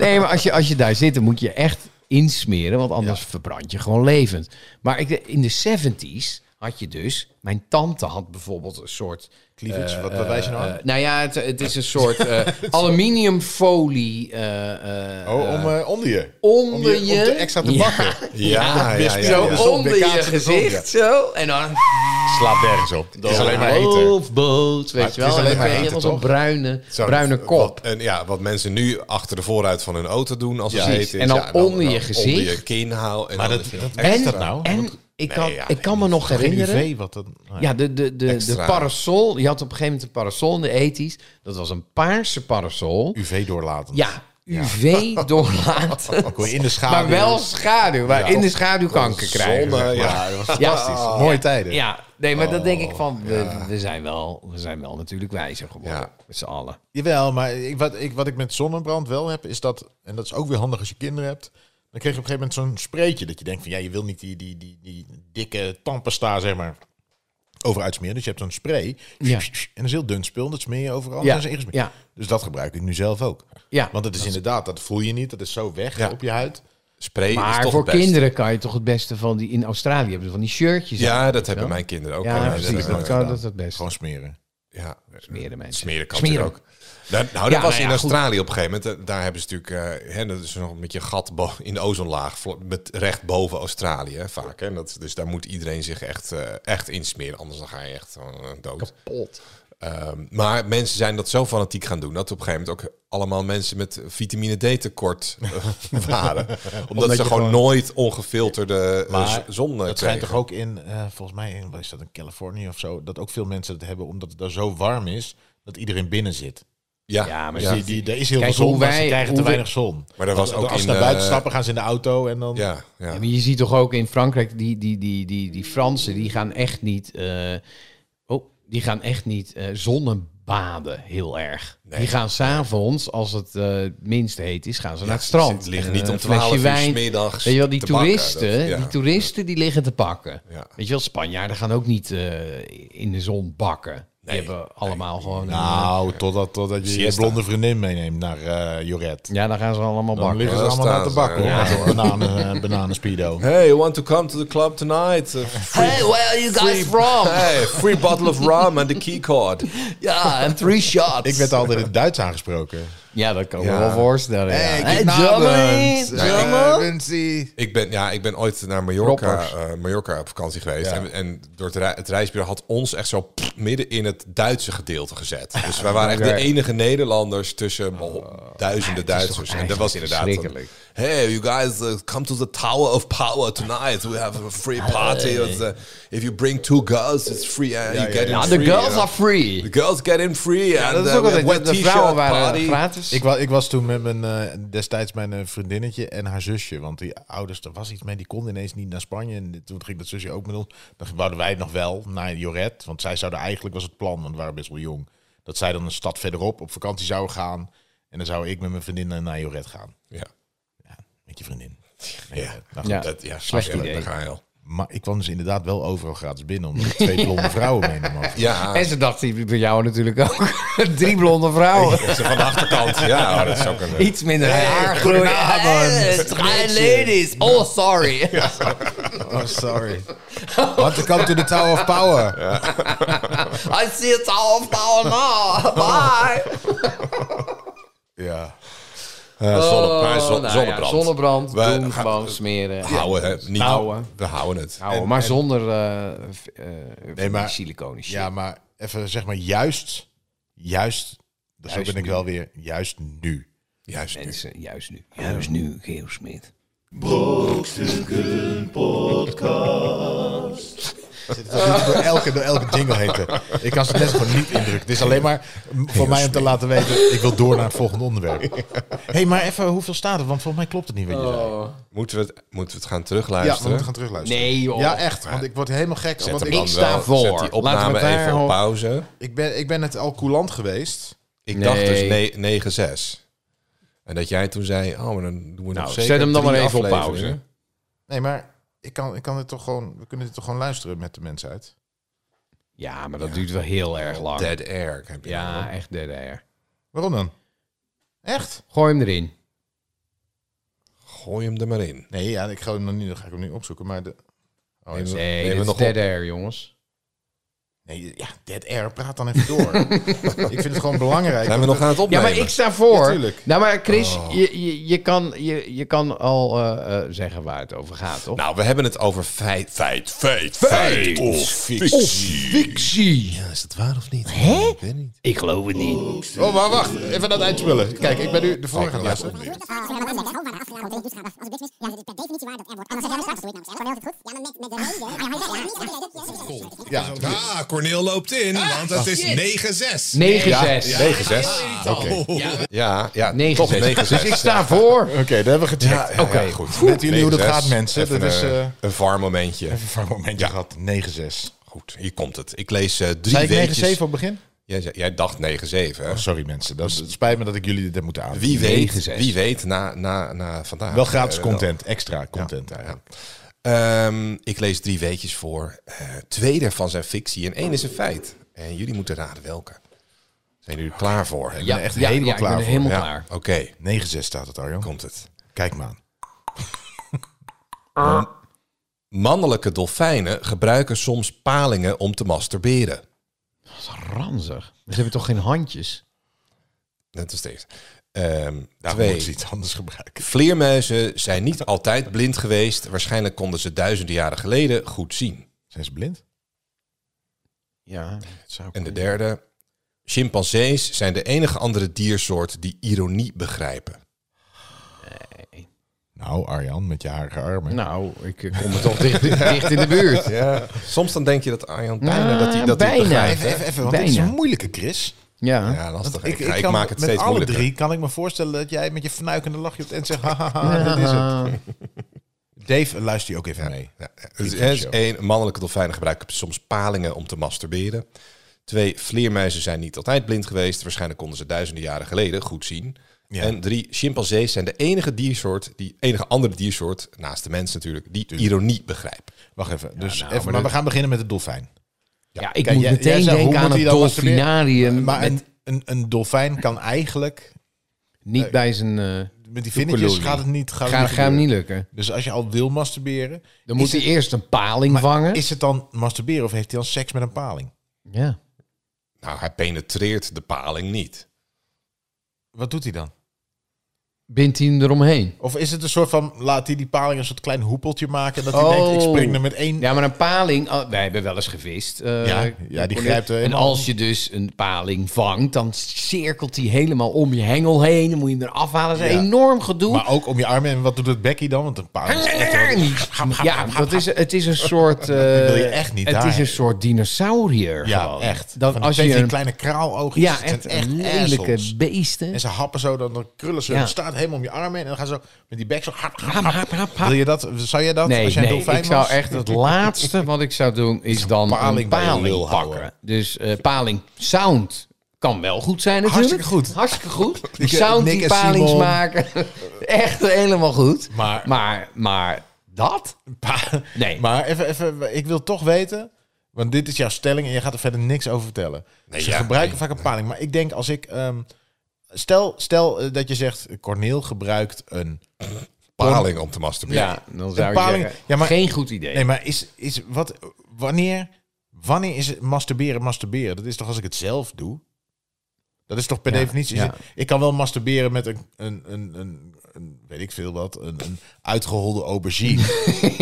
Nee, maar als je, als je daar zit, dan moet je echt insmeren, want anders verbrand je gewoon levend. Maar ik, in de 70s had je dus, mijn tante had bijvoorbeeld een soort.
Cleavage, wat, wat wijs je nou aan?
eh, nou ja, het, het is een
*laughs*
soort eh, aluminiumfolie eh, eh,
oh, om, eh, onder je.
onder
Om je, om
je-
te extra te
Ja.
*laughs*
bakken.
Ja, ja, ja,
Zo
ja.
zon,
onder
de
je
kaatsen de zon, ja.
gezicht zo. En dan
Slaat nergens op. Het is alleen maar eten.
Wolfboot, weet
het
je
is
wel. En dan
alleen maar
krijg je
eten,
helemaal zo'n
toch?
bruine, bruine
Wat-
kop.
En ja, wat mensen nu achter de voorruit van hun auto doen als ze
Ja.
eten.
Precies.
is,
En dan onder je
Onder je
gezicht.
kin houden. En
Maar
dan
dat-
is het
dat-
extra.
Wat
En,
is dat nou?
en
Want-
Oh, ik kan,
Nee, ja,
ik kan me nog
Geen
herinneren...
UV, wat dat... nou
Ja, de, de, de, de
Extra.
parasol. Je had op een gegeven moment een parasol in de ethisch. Dat was een paarse parasol.
UV doorlaten.
Ja, *laughs* UV doorlaten.
Kon je in de schaduw...
Maar wel schaduw. Waar in de schaduw kanker krijgen.
Zonne,
zeg maar.
ja. dat was
Ja,
Ah, Mooie tijden.
ja, nee, maar dat denk ik van... We, we, zijn wel, we zijn wel natuurlijk wijzer geworden.
Ja.
Met z'n allen.
Jawel, maar ik, wat, ik, wat ik met zonnebrand wel heb, is dat... En dat is ook weer handig als je kinderen hebt. Dan krijg je op een gegeven moment zo'n spreetje. Dat je denkt van, ja, je wil niet die, die, die, die dikke tandpasta, zeg maar, over uitsmeren. Dus je hebt zo'n spray.
Ja.
En dat is heel dun spul. Dat smeer je overal.
Ja,
en dat is ingesmeerd.
ja.
Dus dat gebruik ik nu zelf ook.
Ja.
Want het is inderdaad, dat voel je niet. Dat is zo weg
Ja.
op je huid.
Spray is
Maar
toch
voor
het beste.
kinderen kan je toch het beste van die... In Australië hebben ze van die shirtjes. aan,
Ja,
weet
dat
je
hebben
wel.
mijn kinderen ook.
Ja,
al. dat heb
precies.
ik
Dat,
nooit
kan,
gedaan.
dat is het beste.
Gewoon smeren.
Ja.
Smeren mensen.
Smeren kan
Smeren.
natuurlijk ook. Nou, nou, dat
Ja,
was
nou
in
ja,
Australië op een gegeven moment. eh, Daar hebben ze natuurlijk, eh, hè, dat is nog met je gat bo- *laughs* in de ozonlaag, vlo- met recht boven Australië hè, vaak. Hè. En dat, dus daar moet iedereen zich echt, eh, echt insmeren, anders dan ga je echt gewoon, eh, dood.
Pot.
Ehm, maar mensen zijn dat zo fanatiek gaan doen dat op een gegeven moment ook allemaal mensen met vitamine D tekort eh, *laughs* waren. Omdat, ze
je
gewoon,
gewoon-
nooit ongefilterde eh,
Maar
z- zon
Dat schijnt
kregen.
toch ook in, eh, volgens mij, in, wat is dat in Californië of zo, dat ook veel mensen het hebben omdat het daar zo warm is dat iedereen binnen zit.
Ja,
Ja, maar
Dus die, die, er is heel
Kijk,
veel zon,
hoe
maar ze
wij-
krijgen te
hoe wij-
weinig zon.
Maar dat was ook
Als ze
in,
naar buiten
eh,
stappen, gaan ze in de auto en dan...
ja, ja.
Ja, maar je ziet toch ook in Frankrijk, die, die, die, die, die Fransen, die gaan echt niet, eh, oh, die gaan echt niet eh, zonnebaden heel erg.
Nee.
Die gaan s'avonds, als het eh, het minst heet is, gaan ze naar het strand.
Ze liggen
En,
niet
eh,
om
een flesje
12 uur 's
wijn.
middags
Weet je wel, die
te bakken, dat-
toeristen,
ja.
die toeristen die liggen te pakken.
Ja.
Weet je wel, Spanjaarden gaan ook niet eh, in de zon bakken. Die
Nee.
hebben allemaal gewoon... een-
Nou, totdat, totdat je je
Siesta.
blonde vriendin meeneemt naar eh Joret.
ja, dan gaan ze allemaal
Dan
bakken.
liggen ze
Ja,
allemaal
daar
naar te
staan
bakken,
ze,
hoor.
ja.
Met zo'n bananen, eh, bananen
*laughs*
speedo.
Hey, you want to come to the club tonight? Uh,
Hey, where are you guys
*laughs*
from? *laughs*
Hey, free bottle of rum and the key card.
Ja, en three shots.
Ik werd altijd in het Duits aangesproken.
Ja, dat kan ik
Ja.
me wel voorstellen. Ja. Germany.
Ik ben, ja, ik ben ooit naar Mallorca,
Roppers.
eh, Mallorca op vakantie geweest.
Ja.
En, en door het, rei- het reisbureau had ons echt zo pff, midden in het Duitse gedeelte gezet. Dus wij waren echt de
*laughs* Oké.
enige Nederlanders tussen oh, duizenden Duitsers. En dat was inderdaad... een-
verschrikkelijk.
hey, you guys, uh, come to the Tower of Power tonight. We have a free
Ah,
party. It's, uh, if you bring two girls, it's free. Uh, you get in
Ja,
free,
the Nou, girls
you know.
are free.
The girls get in free. and,
Dat is
uh,
ook
we have
altijd,
wet
de
t-shirt
vrouwen waren
party.
gratis.
Ik, wa ik was toen met mijn, eh, destijds mijn eh, vriendinnetje en haar zusje. Want die ouders, er was iets mee, die konden ineens niet naar Spanje. En toen ging dat zusje ook met ons. Dan wouden wij nog wel naar Joret. Want zij zouden eigenlijk, was het plan, want we waren best wel jong. Dat zij dan een stad verderop op vakantie zouden gaan. En dan zou ik met mijn vriendin naar Joret gaan.
Ja,
Met je vriendin.
Ja.
Nou goed.
Ja.
dat, ja,
Slecht
ja,
idee.
daar ga je al.
Maar ik kwam dus inderdaad wel overal gratis binnen. Omdat ik twee blonde vrouwen
*laughs*
meenam. over.
Ja,
En ze dachten die- bij jou natuurlijk ook. *laughs* Drie blonde vrouwen.
Ze van de achterkant. Ja, oh, dat
*laughs*
zou kunnen.
Iets minder haar groeien. Hey, Hi ladies. Oh, sorry.
Oh, sorry. Want to come to the Tower of Power.
*laughs* I see it's all power now. Bye.
Ja.
Eh, zonne- maar zon-
Oh, nou ja,
zonnebrand.
Zonnebrand.
We
doen,
gaan-
gewoon smeren.
Houden, hè? Niet
Houden.
We houden het.
Houden, maar zonder eh, v- eh, van die
maar-
siliconen shit.
Ja, maar even zeg maar juist, juist, dus zo ben ik wel weer, juist nu.
Juist nu.
Mensen, juist nu. Juist nu, Geo Smit.
Door elke, door elke jingle heten. *laughs* Ik kan ze net gewoon niet indrukken. Het is alleen maar m- voor mij om te laten weten, ik wil door naar het volgende onderwerp. Hé, hey, maar even, hoeveel staat er? Want volgens mij klopt het niet wat je zei.
Oh.
Moeten, we het, moeten we het gaan
Ja, Oh. we
terugluisteren?
moeten gaan terugluisteren.
Nee, joh.
Ja, echt, want ik word helemaal gek. Want
Zet hem
ik,
dan
sta
wel-
voor.
Zet die
Laten we
opname
het daar
even op
houden.
pauze.
ik, ben, ik ben het al coulant geweest.
Ik
Nee.
dacht dus ne- 9-6. En dat jij toen zei, oh, maar dan doen we nog
Nou,
zeker
zet hem dan
drie
maar even op
afleveringen.
pauze.
Nee, maar ik kan, ik kan het toch gewoon, we kunnen dit toch gewoon luisteren met de mensen uit.
Ja, maar dat duurt wel heel erg lang.
Dead air heb je nou,
Ja,
hoor.
echt dead air.
Waarom dan? Echt?
Gooi hem erin.
Gooi hem er maar in.
Nee, ja, ik ga hem nog niet, dan ga ik hem nu opzoeken. Maar de, oh,
Nee,
ja,
Nee,
Neem
dit
hem
is
nog
dead
op.
air, jongens.
nee, ja, Dead Air, praat dan even door. ik vind het gewoon belangrijk.
Zijn we
want
nog aan het
Ja,
opnemen?
maar ik sta voor.
Ja, tuurlijk. Oh.
nou, maar Chris, je, je, je, kan, je, je kan al eh, eh, zeggen waar het over gaat, toch?
Nou, we hebben het over feit, feit, feit,
het-
feit.
Of fictie.
fictie.
Ja, is dat waar of niet? Ik weet niet.
Ik geloof het niet.
Oh, maar wacht. Even dat uitspullen. Kijk, ik ben nu de vorige aan het luisteren. Ja,
Ah, Corneel loopt in,
Ah,
want het is 9-6.
9-6.
Ja, 9-6.
Irritant.
Oké.
Ja, ja
9-6.
toch 9
Dus ik sta voor.
Oké, dat hebben we gecheckt.
Ja,
Oké.
goed.
Weten jullie hoe dat
9-6.
gaat, mensen?
Even
Dat is,
een,
eh,
een var momentje.
Even een momentje gehad. 9-6.
Goed, hier komt het. Ik lees eh, drie
Zei ik 9-7
weetjes.
op het begin?
Jij, zei- jij dacht 9-7, hè?
Oh, sorry mensen. Dat is, het spijt me dat ik jullie dit heb moeten aan.
Wie weet,
9-6.
wie weet na, na, na vandaag.
Wel gratis
Eh,
content. Extra content eigenlijk.
Ehm, ik lees drie weetjes voor. Eh, twee daarvan zijn fictie en één is een feit. En jullie moeten raden welke. Zijn jullie er klaar voor?
ben
Ja,
er echt
ja,
helemaal
ja, ik
klaar
ben er
voor.
helemaal
Ja,
klaar.
oké.
9-6 staat het, Arjan.
Komt het.
Kijk maar aan.
Mannelijke dolfijnen gebruiken soms palingen om te masturberen.
Dat is ranzig. Ze hebben toch geen handjes?
Dat is deze. Ehm
Daarom
twee.
moet ze iets anders gebruiken.
Vleermuizen zijn niet altijd blind geweest. Waarschijnlijk konden ze duizenden jaren geleden goed zien.
Zijn ze blind?
Ja.
En de derde. Chimpansees zijn de enige andere diersoort die ironie begrijpen.
Nou, Arjan, met je harige armen.
Nou, ik eh, kom er toch dicht, dicht in de buurt.
Ja. Soms dan denk je dat Arjan bijna
Nou,
dat hij dat hij het
bijna.
begrijpt.
even, even, even, want dit is
Bijna.
een moeilijke, Chris.
Ja.
Ja, lastig.
ik,
Ik,
ik,
ga- ik
kan,
maak het
met
steeds
alle
moeilijker.
drie kan ik me voorstellen dat jij met je fnuikende lachje op het eind zegt...
*laughs*
Haha, dat is het. Dave, luister je ook even mee.
Ja, ja. dus
vind het
is
zo.
één, mannelijke dolfijnen gebruiken soms palingen om te masturberen. Twee, vleermuizen zijn niet altijd blind geweest. Waarschijnlijk konden ze duizenden jaren geleden goed zien.
Ja.
En drie, chimpansees zijn de enige diersoort, die enige andere diersoort, naast de mens natuurlijk, die ironie begrijpt.
Wacht even. Dus
nou,
even maar
maar
we gaan beginnen met de dolfijn.
Ja, ik
Kijk,
moet
jij- jij
meteen
zegt, hoe
denken
moet
aan
hij
het
dan masturberen?
dolfinarium.
Maar
met-
een, een, een dolfijn kan eigenlijk...
niet bij zijn... eh
Met die vinnetjes
Oekeloelie.
gaat het niet, gaat het
gaat,
niet
gaat hem
gebeuren.
niet lukken.
Dus als je al wil masturberen...
Dan
is
moet hij eerst een paling
Maar
vangen.
Is het dan masturberen of heeft hij dan seks met een paling?
ja.
Nou, hij penetreert de paling niet.
Wat doet hij dan?
Bindt hij hem eromheen.
Of is het een soort van, laat hij die paling een soort klein hoepeltje maken... en dat hij
Oh.
denkt, ik spring er met één...
Ja, maar een paling... oh, wij hebben wel eens gevist. eh,
Ja, ja, die grijpt er
En
helemaal
als je dus een paling vangt, dan cirkelt hij helemaal om je hengel heen. Dan moet je hem eraf halen. Dat is
Ja.
een enorm gedoe.
Maar ook om je armen. En wat doet het bekkie dan? Want een paling is echt wel-
Ja, dat is, het is een
*laughs*
soort. eh,
wil je echt niet
Het
daar
is een
hebben.
soort dinosaurier.
Ja,
gewoon.
echt.
Dat
Van die
als
steeds
je
die
een,
kleine kraaloogjes.
ja,
het zijn
echt, een
assholes.
lelijke beesten.
En ze happen zo, dan, dan krullen ze.
Ja.
Het staat helemaal om je armen heen. En dan gaan ze zo met die bek zo... Hap, hap,
Hap,
hap.
hap, hap, hap.
Wil je dat? Zou jij dat?
Nee,
als jij een
nee
dolfijn
ik zou
was?
echt het laatste wat ik zou doen is dan
paling
een
bij je
paling
lul
pakken.
houden.
Dus eh, paling sound kan wel goed zijn natuurlijk.
Hartstikke goed.
Hartstikke goed.
*laughs*
Die
Ik, eh,
sound
Nick
die
en
palings
Simon.
maken. *laughs* Echt helemaal goed.
Maar-
maar, maar dat?
Pa-
Nee.
Maar even, even, ik wil toch weten... Want dit is jouw stelling en je gaat er verder niks over vertellen. ze
ja,
gebruiken vaak een paling. Maar ik denk als ik... ehm, stel stel eh, dat je zegt... Corneel gebruikt een...
Paling om te masturberen.
Ja, dan zou
Een
ik
paling-
zeggen,
ja, maar-
geen goed idee.
Nee, maar is, is wat, wanneer, wanneer is het masturberen masturberen? Dat is toch als ik het zelf doe? Dat is toch per definitie. is
ja.
het- Ik kan wel masturberen met een, een, een, een, een weet ik veel wat, een, een uitgeholde aubergine.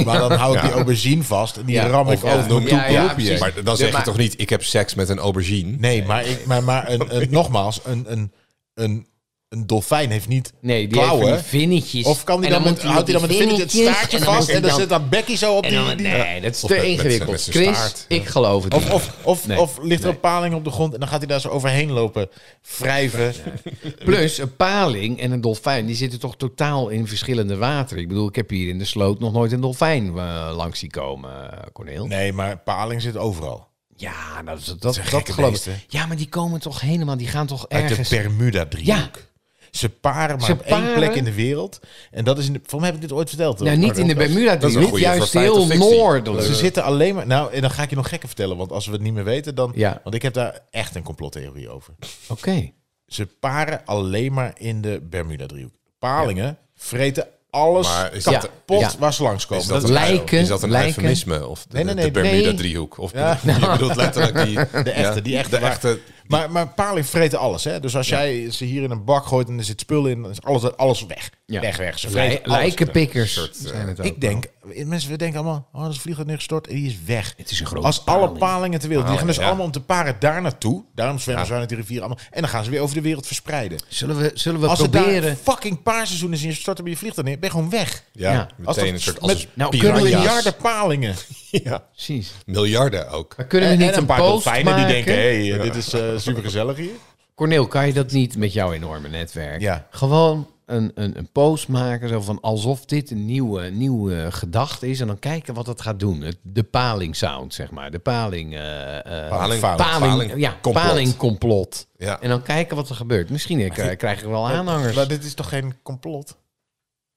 *laughs*
Maar dan hou ik die aubergine vast en die
Ja,
ram ik
of- ja,
over mijn
ja, ja,
toepelhoepje.
precies.
Maar dan zeg
Ja, maar-
je toch niet, ik heb seks met een aubergine?
Nee, maar, ik, maar, maar een,
*laughs*
een, nogmaals, een, een, een, een dolfijn heeft niet
Nee, die
klauwen.
heeft van die vinnetjes.
Of kan die
En
dan met,
moet
houdt hij dan met vinnetje het
vinnetjes
staartje
en dan
vast
moet
en dan
hij
zit dat bekkie zo op
en
die...
dan-
die-
nee, dat is
met-
te
met- met
ingewikkeld.
zijn
Chris,
staart.
ik geloof het
Of,
niet.
of, of,
Nee.
of ligt er
Nee.
een paling op de grond en dan gaat hij daar zo overheen lopen, wrijven.
Plus, een paling en een dolfijn, die zitten toch totaal in verschillende wateren. Ik bedoel, ik heb hier in de sloot nog nooit een dolfijn eh, langs zien komen, eh, Corneel.
Nee, maar paling zit overal.
Ja, nou, dat, dat,
zijn
dat
gekke
geloof
beesten, hè?
ik. Ja, maar die komen toch helemaal, die gaan toch
Uit
ergens...
de Bermuda-driehoek. Ze paren maar
Ze
op één
paren-
plek in de wereld. En dat is... In de, voor mij heb ik dit ooit verteld.
nou, niet in de
Podcast.
Bermuda,
dat is een
driehoek,
goeie
juist
voor feit of
heel
fictie.
noordelijk.
Ze zitten alleen maar... Nou, en dan ga ik je nog gekker vertellen. Want als we het niet meer weten, dan...
Ja.
Want ik heb daar echt een complottheorie over.
Oké.
Ze paren alleen maar in de Bermuda-driehoek. Palingen vreten alles
Maar is dat-
kapot
Ja.
waar ze langskomen.
Is
Dat
dat,
is
een,
lijken-
is dat een
lijken.
eufemisme? Of de,
Nee, nee,
de
nee,
Bermuda-driehoek? Of
Ja.
bedoel- je bedoelt
*laughs*
letterlijk die...
de echte, die echte.
De
waar-
echte...
Maar, maar paling vreten alles. Hè? Dus als jij ze hier in een bak gooit en er zit spul in, dan is alles, alles weg.
Ja.
Weg, weg. Ze vreten
Lij-
alles.
Lijkenpikkers
eh,
zijn het ook.
Ik denk, mensen we denken allemaal, oh, dat is een vlieger neergestort en die is weg.
Het is een grote
Als alle
paling.
palingen ter wereld, die gaan dus
Paling, ja.
allemaal om te paren daar naartoe. Daarom zwemmen ze uit de rivier allemaal. En dan gaan ze weer over de wereld verspreiden.
Zullen we, zullen we
Als het daar
proberen...
een fucking paarseizoen is en je stort er bij je vliegtuig neer, ben je gewoon weg.
Ja,
Ja.
Als dat
meteen een soort... Als
met-
een
Nou,
piranha's.
kunnen we Piranha's.
Miljarden palingen.
Ja,
Precies. Eh,
miljarden ook.
Maar kunnen we
En,
niet
en een paar
post
dolfijnen die
maken?
denken, hé, hey, eh, dit is eh supergezellig hier.
Corneel, kan je dat niet met jouw enorme netwerk?
Ja.
Gewoon een, een, een post maken zo van alsof dit een nieuwe, nieuwe gedachte is. En dan kijken wat dat gaat doen. Het- De paling sound, zeg maar. De paling... eh, eh,
Paling,
paling,
paling-
ja,
complot.
paling complot.
Ja.
En dan kijken wat er gebeurt. Misschien eh, krijg- krijg je wel aanhangers.
Maar dit is toch geen complot?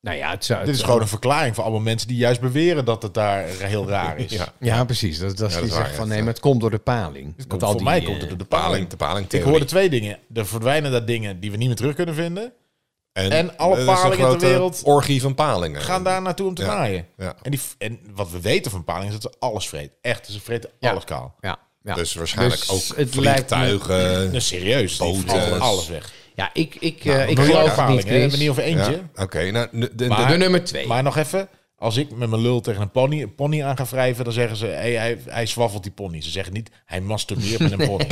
nou ja, het zou...
Dit is
het-
gewoon een verklaring voor allemaal mensen die juist beweren dat het daar heel raar is.
Ja.
Ja, precies. Dat, dat, is
dat
die
is
zegt
waar,
van
ja.
nee, maar het komt door de paling.
Het
Want
komt,
al
voor
die,
mij
eh,
komt het door de paling.
Paling, de paling
Ik hoorde twee dingen. Er verdwijnen daar dingen die we niet meer terug kunnen vinden. en alle
er eh, is een
palingen ter
grote
wereld
orgie van palingen.
Gaan daar naartoe om te
Ja.
naaien.
Ja.
En, die, f- en wat we weten van palingen is dat ze alles vreten. Echt, ze vreten
Ja.
alles kaal.
Ja, ja.
Dus waarschijnlijk
Dus
ook
het lijkt me-
vliegtuigen.
Nou, serieus. die
Boten.
vreten alles weg.
Ja, ik, ik, eh,
Miljarden
ik geloof het niet,
palingen, hè. Nou, We
Chris.
hebben niet over
Ja,
eentje.
Oké, nou, de, de- de-
Maar-
De nummer twee.
Maar nog even. Als ik met mijn lul tegen een pony, een pony aan ga wrijven, dan zeggen ze: hey, hij, hij zwaffelt die pony. Ze zeggen niet: hij masturbeert
*laughs*
met een pony.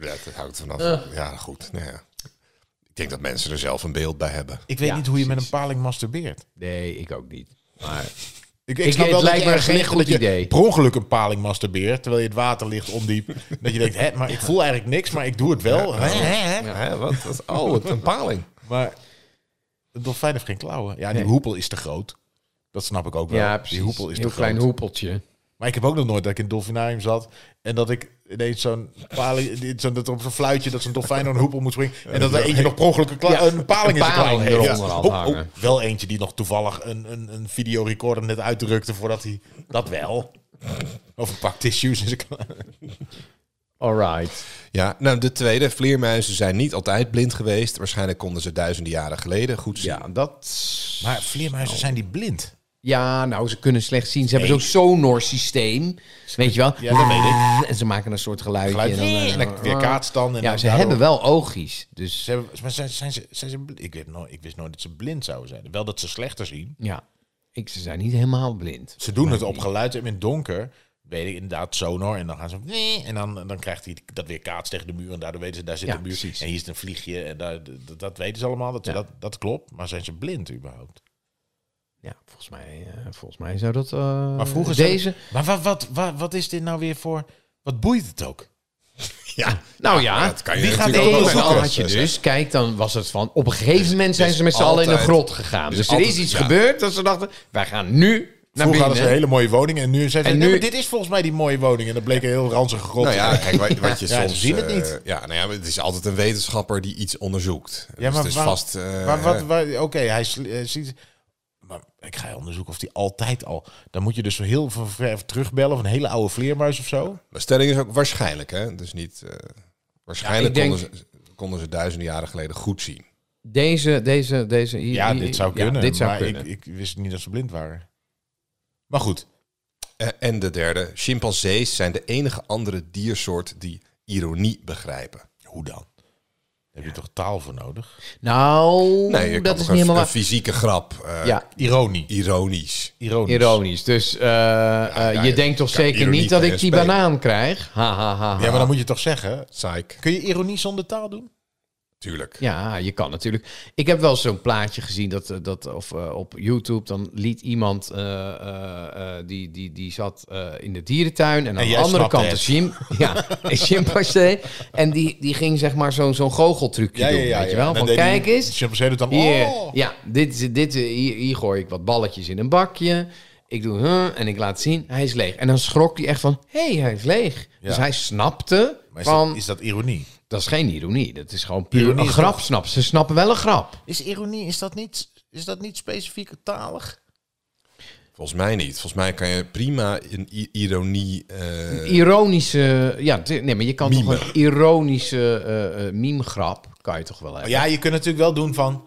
ja, dat houdt er vanaf. Ja, goed. Nou ja. Ik denk dat mensen er zelf een beeld bij hebben.
Ik weet
Ja,
niet hoe je met een paling masturbeert.
Nee, ik ook niet.
*laughs*
Maar
Ik,
Ik-
snap
het
wel dat
lijkt
je
me
ergens
geen
ligt
goed
dat je
idee.
per ongeluk een paling masturbeert, terwijl je het water ligt ondiep. *laughs* dat je denkt, hè, maar ik voel eigenlijk niks, maar ik doe het wel. Hè, hè, hè.
Hè, wat, wat- oh, het- een paling.
Maar een dolfijn heeft geen klauwen. Ja, die hoepel is te groot. Dat snap ik ook wel.
ja, precies.
Die hoepel is
Heel
te
klein
groot.
hoepeltje.
Maar ik heb ook nog nooit dat ik in het dolfinarium zat en dat ik ineens zo'n paling, *laughs* dit- zo'n- dat er op zo'n fluitje dat zo'n dolfijn door een hoepel moet springen en dat er eentje nog per ongeluk een, kla-
Ja,
een paling in
een
zijn klauw
paling
heeft.
eronder aan
Hop,
hangen.
hop. Wel eentje die nog toevallig een, een, een videorecorder net uitdrukte voordat hij dat wel. Of een pak tissues in zijn klauw.
All right.
Ja, nou, de tweede. Vleermuizen zijn niet altijd blind geweest. Waarschijnlijk konden ze duizenden jaren geleden goed zien.
Ja, dat...
Maar vleermuizen zijn die blind.
Ja, nou, ze kunnen slecht zien. Ze hebben
Nee.
zo'n sonor-systeem. Weet je wel?
Ja, dat weet ik.
En ze maken een soort geluidje.
Geluid
en dan, eh,
en dan weer kaatstand. En
ja,
dan
ze
daardoor-
hebben wel oogjes. Dus
Ze hebben, maar zijn, zijn ze, zijn ze blind? Ik, weet nooit, ik wist nooit dat ze blind zouden zijn. Wel dat ze slechter zien.
ja, ik, ze zijn niet helemaal blind.
Ze doen het op geluid en in het donker. Weet ik inderdaad, sonor. En dan gaan ze. "Nee", En dan, dan krijgt hij dat weer kaats tegen de muur. En daardoor weten ze, daar zit
Ja,
een muur.
precies.
En hier is een vliegje. En daar, dat, dat weten ze allemaal. Dat, ze
Ja.
dat, dat klopt. Maar zijn ze blind überhaupt?
Ja, volgens mij, eh, volgens mij zou dat... eh,
Maar vroeger ze-
Deze...
Maar wat, wat, wat, wat is dit nou weer voor. Wat boeit het ook?
Ja, Ah,
Nou ja,
dat kan je
wie gaat
natuurlijk
deze
ook
Deze
wel
al
zoeken.
had je dus, kijk, dan was het van... Op een gegeven moment zijn
dus
ze met z'n allen in een
altijd-
grot gegaan. Dus,
dus
er
altijd-
is iets
ja.
gebeurd dat ze dachten, wij gaan nu naar
Vroeger hadden ze
binnen.
een hele mooie woning. En nu zijn ze.
En
"Nee,
nu-
maar dit is volgens mij die mooie woning. En dat bleek een heel ranzige grot.
Nou ja, kijk, wat, wat je
Ja, ze
soms...
zien het
eh,
niet.
ja, nou ja, maar het is altijd een wetenschapper die iets onderzoekt. Ja, maar
maar
het is
waar-
vast... eh,
Maar wat, waar- oké, hij sli- eh, ziet. Maar ik ga onderzoeken of die altijd al. Dan moet je dus heel ver, ver terugbellen van een hele oude vleermuis of zo.
De stelling is ook waarschijnlijk, hè? Dus niet... eh, waarschijnlijk
Ja, ik
konden, ze, konden ze duizenden jaren geleden goed zien.
Deze, deze, deze... hier-
Ja,
hier-
dit zou
ja,
kunnen.
dit zou
maar
kunnen.
Ik, ik wist niet dat ze blind waren. Maar goed,
Eh, en de derde, chimpansees zijn de enige andere diersoort die ironie begrijpen.
hoe dan? Daar heb je toch taal voor nodig?
Nou,
Nee, je
dat
kan
is
toch
niet
een,
helemaal
een
waar.
fysieke grap. eh,
Ja,
Ironie.
Ironisch.
Ironisch.
ironisch. Dus eh, eh,
ja,
je
ja,
denkt toch
ja,
zeker
ironie
niet dat
kan
ik
je
die
spelen.
banaan krijg? Ha, ha, ha, ha.
Ja, maar dan moet je toch zeggen.
Psych.
Kun je ironie zonder taal doen?
Tuurlijk.
Ja, je kan natuurlijk. Ik heb wel eens zo'n plaatje gezien dat, eh, dat of eh, op YouTube dan liet iemand eh, eh, eh, die, die, die zat eh, in de dierentuin en aan
En
de
jij
andere
snapte
kant een
het.
chim,
*laughs*
ja, een chimpansee en die, die ging zeg maar zo'n zo'n goocheltrucje doen, weet
En
je wel?
dan
Van
deed die
kijk eens,
chimpansee doet dan.
hier,
Oh.
ja, dit, is- dit, eh, hier, hier gooi ik wat balletjes in een bakje. Ik doe huh, en ik laat zien, hij is leeg. En dan schrok hij echt van, hé, hey, hij is leeg.
Ja.
Dus hij snapte
Maar is,
van,
dat, is dat ironie?
dat is geen ironie. Dat is gewoon puur
Ironie
een
is
grap,
toch-
snap. Ze snappen wel een grap.
Is ironie, is dat niet, is dat niet specifiek talig?
Volgens mij niet. Volgens mij kan je prima een i- ironie... eh,
Ironische, ja, t- nee, maar je kan
Mime.
toch een ironische eh eh meme-grap, kan je toch wel hebben.
Oh Ja, je kunt natuurlijk wel doen van...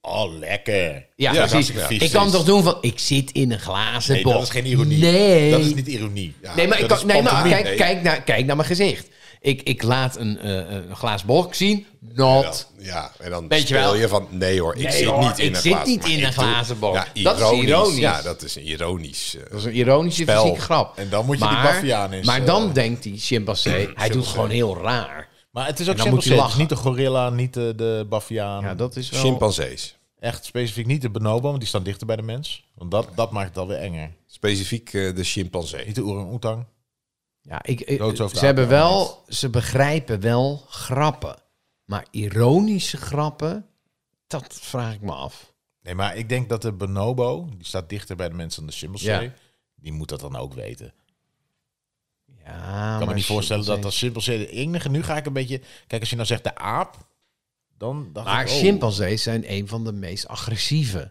Oh, lekker.
Ja,
dat is
precies.
hartstikke vies
Ik kan
is.
toch doen van, ik zit in een glazen
Nee,
box.
dat is geen ironie.
Nee.
Dat is niet ironie. Ja,
nee, maar, ik
dat
kan,
is
nee, maar
pantomime.
kijk,
Nee.
kijk, naar, kijk naar mijn gezicht. Ik, ik laat een, eh een glazen box zien. Not.
Ja, en dan
Weet je
speel
wel?
je van... Nee hoor, ik
Nee,
zit
hoor,
niet in
ik
een
zit
glazen
niet
maar
in
ik
een
doe-
glazen box.
Ja,
Dat is ironisch.
Ja, dat is een ironisch... eh,
Dat is een ironische,
Spel.
fysieke grap.
En dan moet je die baffiaan eens,
Maar
eh,
dan denkt die
*clears throat*
chimpansee, hij doet gewoon heel raar.
Maar het is ook
dan moet je
simpel. Het is
lachen.
niet de gorilla, niet de, de baviaan.
Ja, dat is wel...
Chimpansees.
Echt specifiek niet de bonobo, want die staan dichter bij de mens. Want dat, dat maakt het alweer enger.
Specifiek eh, de chimpansee.
Niet de orang-oetang.
Ja, ik, ik-
Doodshoofd
ze, hebben
apen,
wel, ze begrijpen wel grappen. Maar ironische grappen, dat vraag ik me af.
Nee, maar ik denk dat de bonobo, die staat dichter bij de mens dan de chimpansee.
Ja.
Die moet dat dan ook weten.
Ja,
Ik kan me niet voorstellen dat
chimpansee-
dat chimpansee de enige... Nu ga ik een beetje... Kijk, als je nou zegt de aap, dan... Dacht
Maar
ik, oh.
chimpansees zijn een van de meest agressieve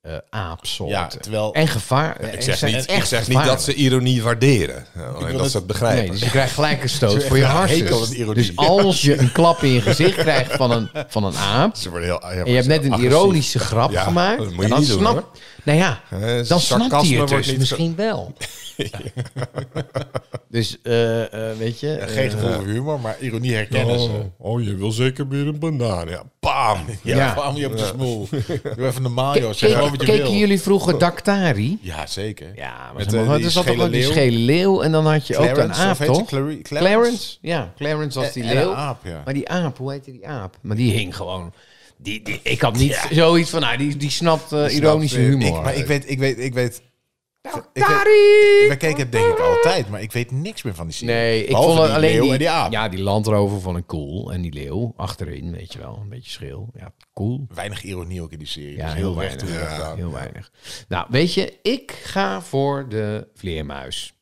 eh aapsoorten.
Ja, terwijl...
En gevaar.
Ik
en
zeg,
zijn
niet, ik
echt
zeg niet dat ze ironie waarderen. Nou, en
wil
dat
het-
ze
gevaarlijk.
het begrijpen.
Nee, dus je krijgt gelijk een
*laughs*
stoot voor je
echt een hekel aan
hartjes.
ironie.
Dus als je een klap in je gezicht krijgt van een, van een aap...
Ze worden heel,
en je hebt net een ironische grap
Ja,
gemaakt...
dat moet je
en dan
niet doen,
snap,
hoor.
Nou ja,
Eh,
dan snapt
sarcasme
hij het
wordt
dus
niet
misschien
*laughs*
wel. *laughs* Dus, eh, eh, weet je...
Ja,
eh,
geen gevoel voor humor, maar ironie herkennen ze.
Oh, oh, je wil zeker weer een banaan. Ja, bam!
*laughs* Ja,
Ja.
kwam je op de smoel. Doe even normaal, joh. Zeg gewoon
Keken
wat je wil.
keken jullie vroeger Daktari?
Ja, zeker.
Ja, maar
Met,
ze mogen-
eh, die
er zat toch
schele
ook die
leeuw?
schele leeuw en dan had je ook een
Clarence,
aap,
of heet ze
toch?
Clari- Clarence?
Ja, Clarence was
En-
die
en een
leeuw.
aap, ja.
Maar die aap, hoe heette die aap? Maar die hing gewoon... Die, die, ik had niet zoiets van, nou, die, die snapt eh, ironische
eh,
humor. Nou,
Ik, maar ik weet, ik weet, ik weet... Ik weet
Daktari!
we keken het denk ik altijd, maar ik weet niks meer van die serie.
Nee, ik
Behalve
vond het
die
alleen
leeuw
die,
en die aap.
Ja, die landrover vond ik cool. En die leeuw achterin, weet je wel. Een beetje schil. Ja, cool.
Weinig ironie ook in die serie.
Ja,
Dus
heel
weinig
weinig.
toe gedaan.
Heel weinig. Nou, weet je, ik ga voor de vleermuis.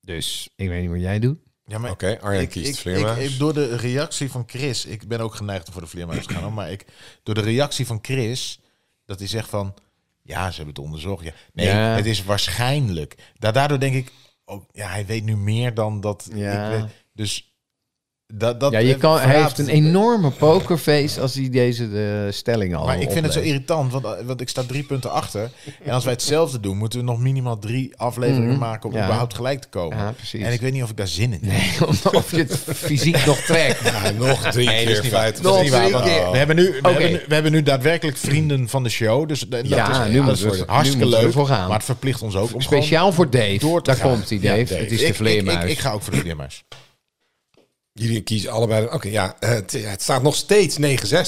Dus, ik weet niet wat jij doet.
Ja, maar
Oké, Arjen
ik,
kiest
ik,
vleermuis.
ik- ik- door de reactie van Chris, ik ben ook geneigd om voor de vleermuis te gaan, hoor, maar ik, door de reactie van Chris, dat hij zegt van, ja, ze hebben het onderzocht. Ja. Nee,
Ja.
het is waarschijnlijk. Da- Daardoor denk ik, oh, ja, hij weet nu meer dan dat.
Ja.
Ik weet, dus dat, dat
Ja, je
eh,
kan, hij
verraadt-
heeft een enorme pokerface als hij deze de stelling al
Maar ik vind het zo
opleest.
irritant, want, eh, want ik sta drie punten achter. En als wij hetzelfde doen, moeten we nog minimaal drie afleveringen maken om
Mhm. Ja.
überhaupt gelijk te komen.
Ja, precies.
En ik weet niet of ik daar zin in heb.
*laughs* of je het fysiek nog trekt.
Ja, nog *laughs* drie
Nee, dat is
keer
niet waar.
feit.
Dat is niet waar,
drie
want
keer.
Oh.
We, hebben nu, we,
Oké.
hebben nu, we hebben nu daadwerkelijk vrienden van de show. Dus dat
Ja,
is,
nu
dat
moeten
is
we er- nu
hartstikke
moeten we
leuk.
ervoor gaan.
Maar het verplicht ons ook om
Speciaal voor Dave.
gewoon door te
Daar
gaan.
komt hij,
Ja,
Dave. Het is
Ik-
de
ik-
vleermuis.
Ik, ik, ga ook voor de vleermuis.
Jullie kiezen allebei. Oké, ja, eh, het, het staat nog steeds 9-6.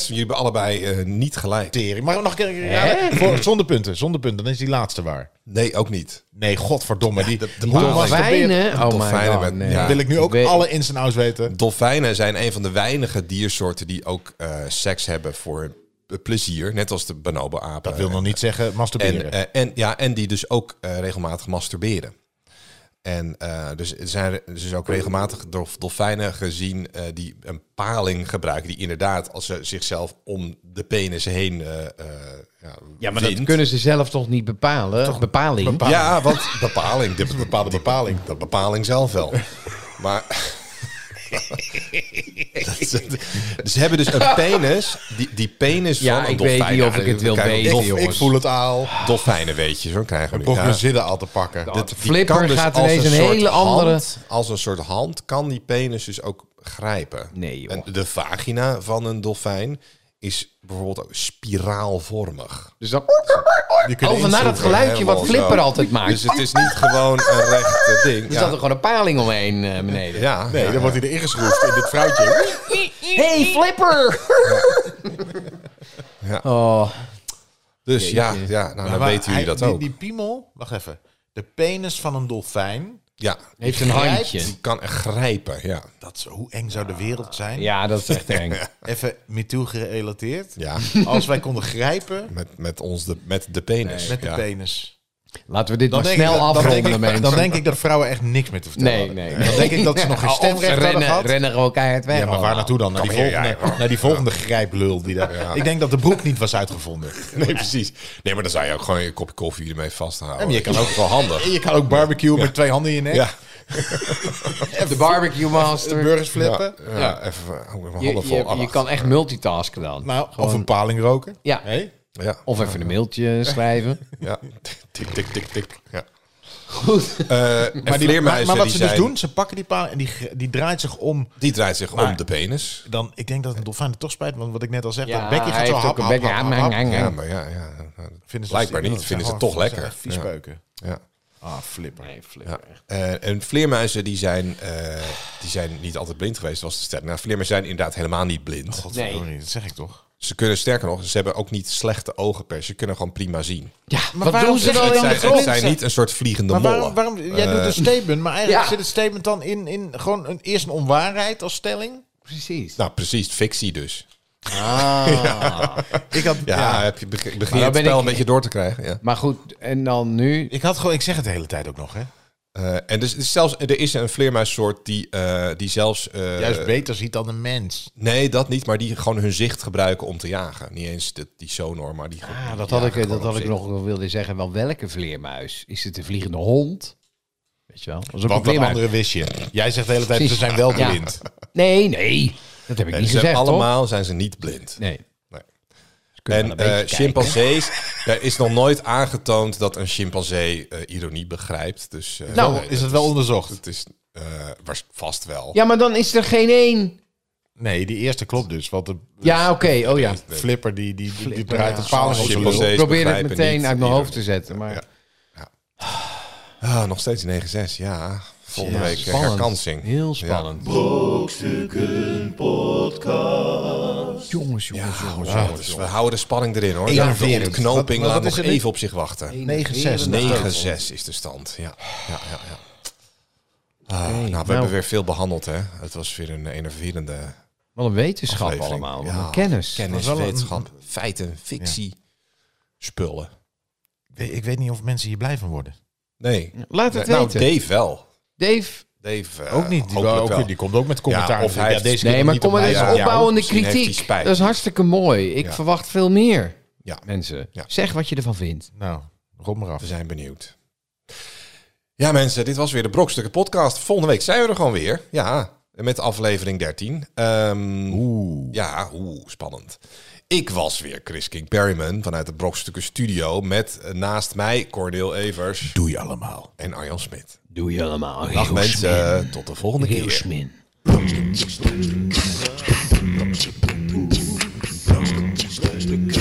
Jullie hebben allebei eh, niet gelijk.
Tering. Maar nog een keer. ja, voor- zonder punten, zonder punten. Dan is die laatste waar.
Nee, ook niet.
Nee, godverdomme. Die, die
dolfijnen.
Thomas probeert-
Dolfijnen? Oh my
Dolfijnen
god,
met-
nee.
ja.
Wil ik nu ook
weet-
alle ins en outs weten.
Dolfijnen zijn een van de weinige diersoorten die ook eh, seks hebben voor eh, plezier. Net als de bonobo-apen.
Dat wil nog niet zeggen
En,
masturberen.
eh, en, ja, en die dus ook eh, regelmatig masturberen. En eh, dus er zijn er dus ook regelmatig dolf- dolfijnen gezien eh, die een paling gebruiken. Die inderdaad, als ze zichzelf om de penis heen. eh, eh,
Ja, maar dat
windt.
kunnen ze zelf toch niet bepalen? bepaling?
Ja, want bepaling. De bepaalde bepaling. De bepaling zelf wel. Maar. Dat is het. Ze hebben dus een penis. Die, die penis
Ja,
van een
ik weet
dolfijn.
niet of ik het wil
Kijk,
weten,
dolf-
jongens.
Ik voel het al. Dolfijnen weet je, zo krijgen we
Of
die.
mijn
Ja.
zinnen al te pakken.
Dat-
Dit-
die
Flipper
kan dus
gaat
als
ineens een
soort
hele andere-
hand- als een soort hand kan die penis dus ook grijpen.
Nee, joh.
En de vagina van een dolfijn is bijvoorbeeld ook spiraalvormig.
Dus dan...
die kunnen
Oh, vandaar dat
inzoeken,
geluidje wat
helemaal
Flipper
zo.
altijd maakt. Dus
Dus het is niet gewoon een rechte ding.
Er zat er gewoon een paling omheen eh, beneden.
Ja,
Nee,
ja,
dan wordt hij erin geschroefd in dit vrouwtje.
Hey, Flipper!
*laughs*
Ja.
Oh,
Dus ja, ja nou, dan
Maar
weten jullie
hij-
dat
die-
ook.
Die piemel, wacht even. De penis van een dolfijn.
ja,
heeft een
Grijpt.
handje.
die kan echt grijpen, ja.
Dat is, hoe eng zou de wereld zijn?
Ja, dat is echt eng.
Even MeToo gerelateerd.
ja
*laughs* Als wij konden grijpen
met, met, ons de, met de penis.
met de
ja.
penis.
Laten we dit
Dan
maar
denk,
snel
ik, dan, denk
afronden,
ik,
mensen.
dan denk ik dat vrouwen echt niks meer te vertellen
Nee,
hadden.
nee.
Dan denk ik dat ze
*laughs*
nog geen
Of ze
stemrecht hadden
rennen,
gehad.
rennen gewoon keihard weg.
Ja, maar waar
allemaal.
naartoe dan? Naar die,
Kom hier,
volgende,
jij.
naar die volgende grijplul. Die daar, Ik denk dat de broek niet was uitgevonden.
Nee, precies. Nee, maar dan zou je ook gewoon je kopje koffie ermee vasthouden.
En je kan ook
wel handig.
En je kan ook barbecue met twee handen in je nek.
Ja.
De barbecue master.
Burgers
Ja,
flippen.
ja, even eh, mijn
Je,
handen vol
je, je
ambacht.
kan echt multitasken dan.
Nou, of een paling roken.
Ja.
Nee?
Ja,
Of even een *laughs* mailtje schrijven.
ja. Tik, tik, tik, tik. Ja.
Goed.
Eh, en
Maar, die- maar,
vleermuizen
maar wat
die
ze
zijn,
dus doen, ze pakken die paling en die, ge- die draait zich om.
die draait zich
Maar-
om de penis.
Dan, ik denk dat een dolfijn het toch spijt, want wat ik net al zeg,
Ja,
dat bekje
hij
gaat zo
heeft
hap,
ook een
hap,
bekje.
hap,
Ja,
hap,
maar-
hap.
ja, ja.
Ja, maar ja, ja.
Vinden ze-
Blijkbaar niet.
dat zijn
Vinden ze het
gewoon-
toch
dat zijn
lekker.
echt Vies
Ja.
beuken.
ja.
Ah, flipper.
Ja. Eh, en vleermuizen die zijn, eh, die zijn niet altijd blind geweest, was de stelling. Nou, vleermuizen zijn inderdaad helemaal niet blind.
Oh,
Godverdorie, dat zeg ik toch.
Ze kunnen sterker nog, ze hebben ook niet slechte ogen per se. Ze kunnen gewoon prima zien.
Ja,
Maar
wat
waarom
doen ze
zeg je
dan
dan
in
dat
de
Zij,
ze
grond?
het zijn niet een soort vliegende
Maar waarom,
mollen. Eh.
waarom, jij doet een statement, maar eigenlijk
ja.
zit het statement dan in, in gewoon een, eerst een onwaarheid als stelling?
Precies. Nou.
Nou, precies. Fictie dus.
Ik had,
Ja,
ja.
Heb je, beg- begin
dan
je het
ben
spel
ik-
een beetje door te krijgen. Ja.
Maar goed, en dan nu.
ik had gewoon, ik zeg het de hele tijd ook nog, hè?
Eh, en dus, dus zelfs, er is een vleermuissoort die, eh, die zelfs... eh,
Juist beter ziet dan een mens.
Nee, dat niet, maar die gewoon hun zicht gebruiken om te jagen. Niet eens de, die sonor, maar die...
Ah,
die
dat had
jagen
ik, eh,
gewoon
dat
op
had ik
zicht.
nog wilde zeggen. Wel welke vleermuis? Is het een vliegende hond? Weet je wel? Dat is ook een
Want dat
vleermuis.
andere wist je. Jij zegt de hele tijd, ze
Precies.
zijn wel
Ja.
blind.
Nee, nee. Dat heb ik
Nee,
niet
ze zijn
gezegd, toch?
allemaal zijn ze niet blind.
Nee.
Nee.
Ze kunnen wel
en
een
eh,
beetje kijken.
chimpansees, er is nog nooit aangetoond dat een chimpansee eh, ironie begrijpt. Dus, eh,
Nou,
nee,
Oh, Is het wel onderzocht?
Het is eh, waars- vast wel.
Ja, maar dan is er geen één.
Nee, die eerste klopt dus. Want de
Ja, oké. Oh ja.
flipper Oh, die, die, die, die draait een paal in zijn
Chimpansee.
lul.
Ik probeer het
begrijpen
meteen
niet
uit mijn hoofd
ironie.
te zetten. Maar
Ja. Ah, nog steeds 9-6, ja. Volgende
Ja,
week eh,
spannend.
herkansing.
Heel spannend. podcast. Jongens, jongens, jongens.
Ja, dus we houden de spanning erin hoor.
Ja,
Ja, de
verend. Wat-
ontknoping
wat
laat
is
nog
er nu?
even op zich wachten.
9-6.
9-6
Nou,
is de stand. Ja. Ja, ja, ja. Ah, nou, we
nou.
hebben weer veel behandeld hè. Het was weer een enerverende
Wat een wetenschap
aflevering.
allemaal. Wat
Ja.
een kennis.
kennis,
Maar wel een-
wetenschap, feiten, fictie, spullen.
Ik weet niet of mensen hier blij van worden.
Nee.
Laat het
nou,
weten.
Dave wel.
Dave.
Dave eh,
Ook niet. Die,
hopelijk wel.
ook, die komt ook met commentaar.
Ja, of hij heeft-
deze keer
Nee, maar
niet
kom maar
op
eens
mij,
ja.
ja.
opbouwende
Misschien heeft hij
kritiek.
spijt.
Dat is hartstikke mooi. Ik
Ja.
verwacht veel meer,
Ja.
mensen.
Ja.
Zeg wat je ervan vindt.
Nou, rond maar af.
We zijn benieuwd. Ja, mensen, dit was weer de Brokstukken Podcast. Volgende week zijn we er gewoon weer. Ja, met aflevering 13. Ehm,
Oeh.
Ja, oeh, spannend. Ik was weer Chris King Perryman vanuit de Brokstukken Studio. Met eh, naast mij Corneel Evers
Doe je allemaal.
en Arjan Smit.
Doe je allemaal.
Dag mensen, tot de volgende keer.
Brokstukken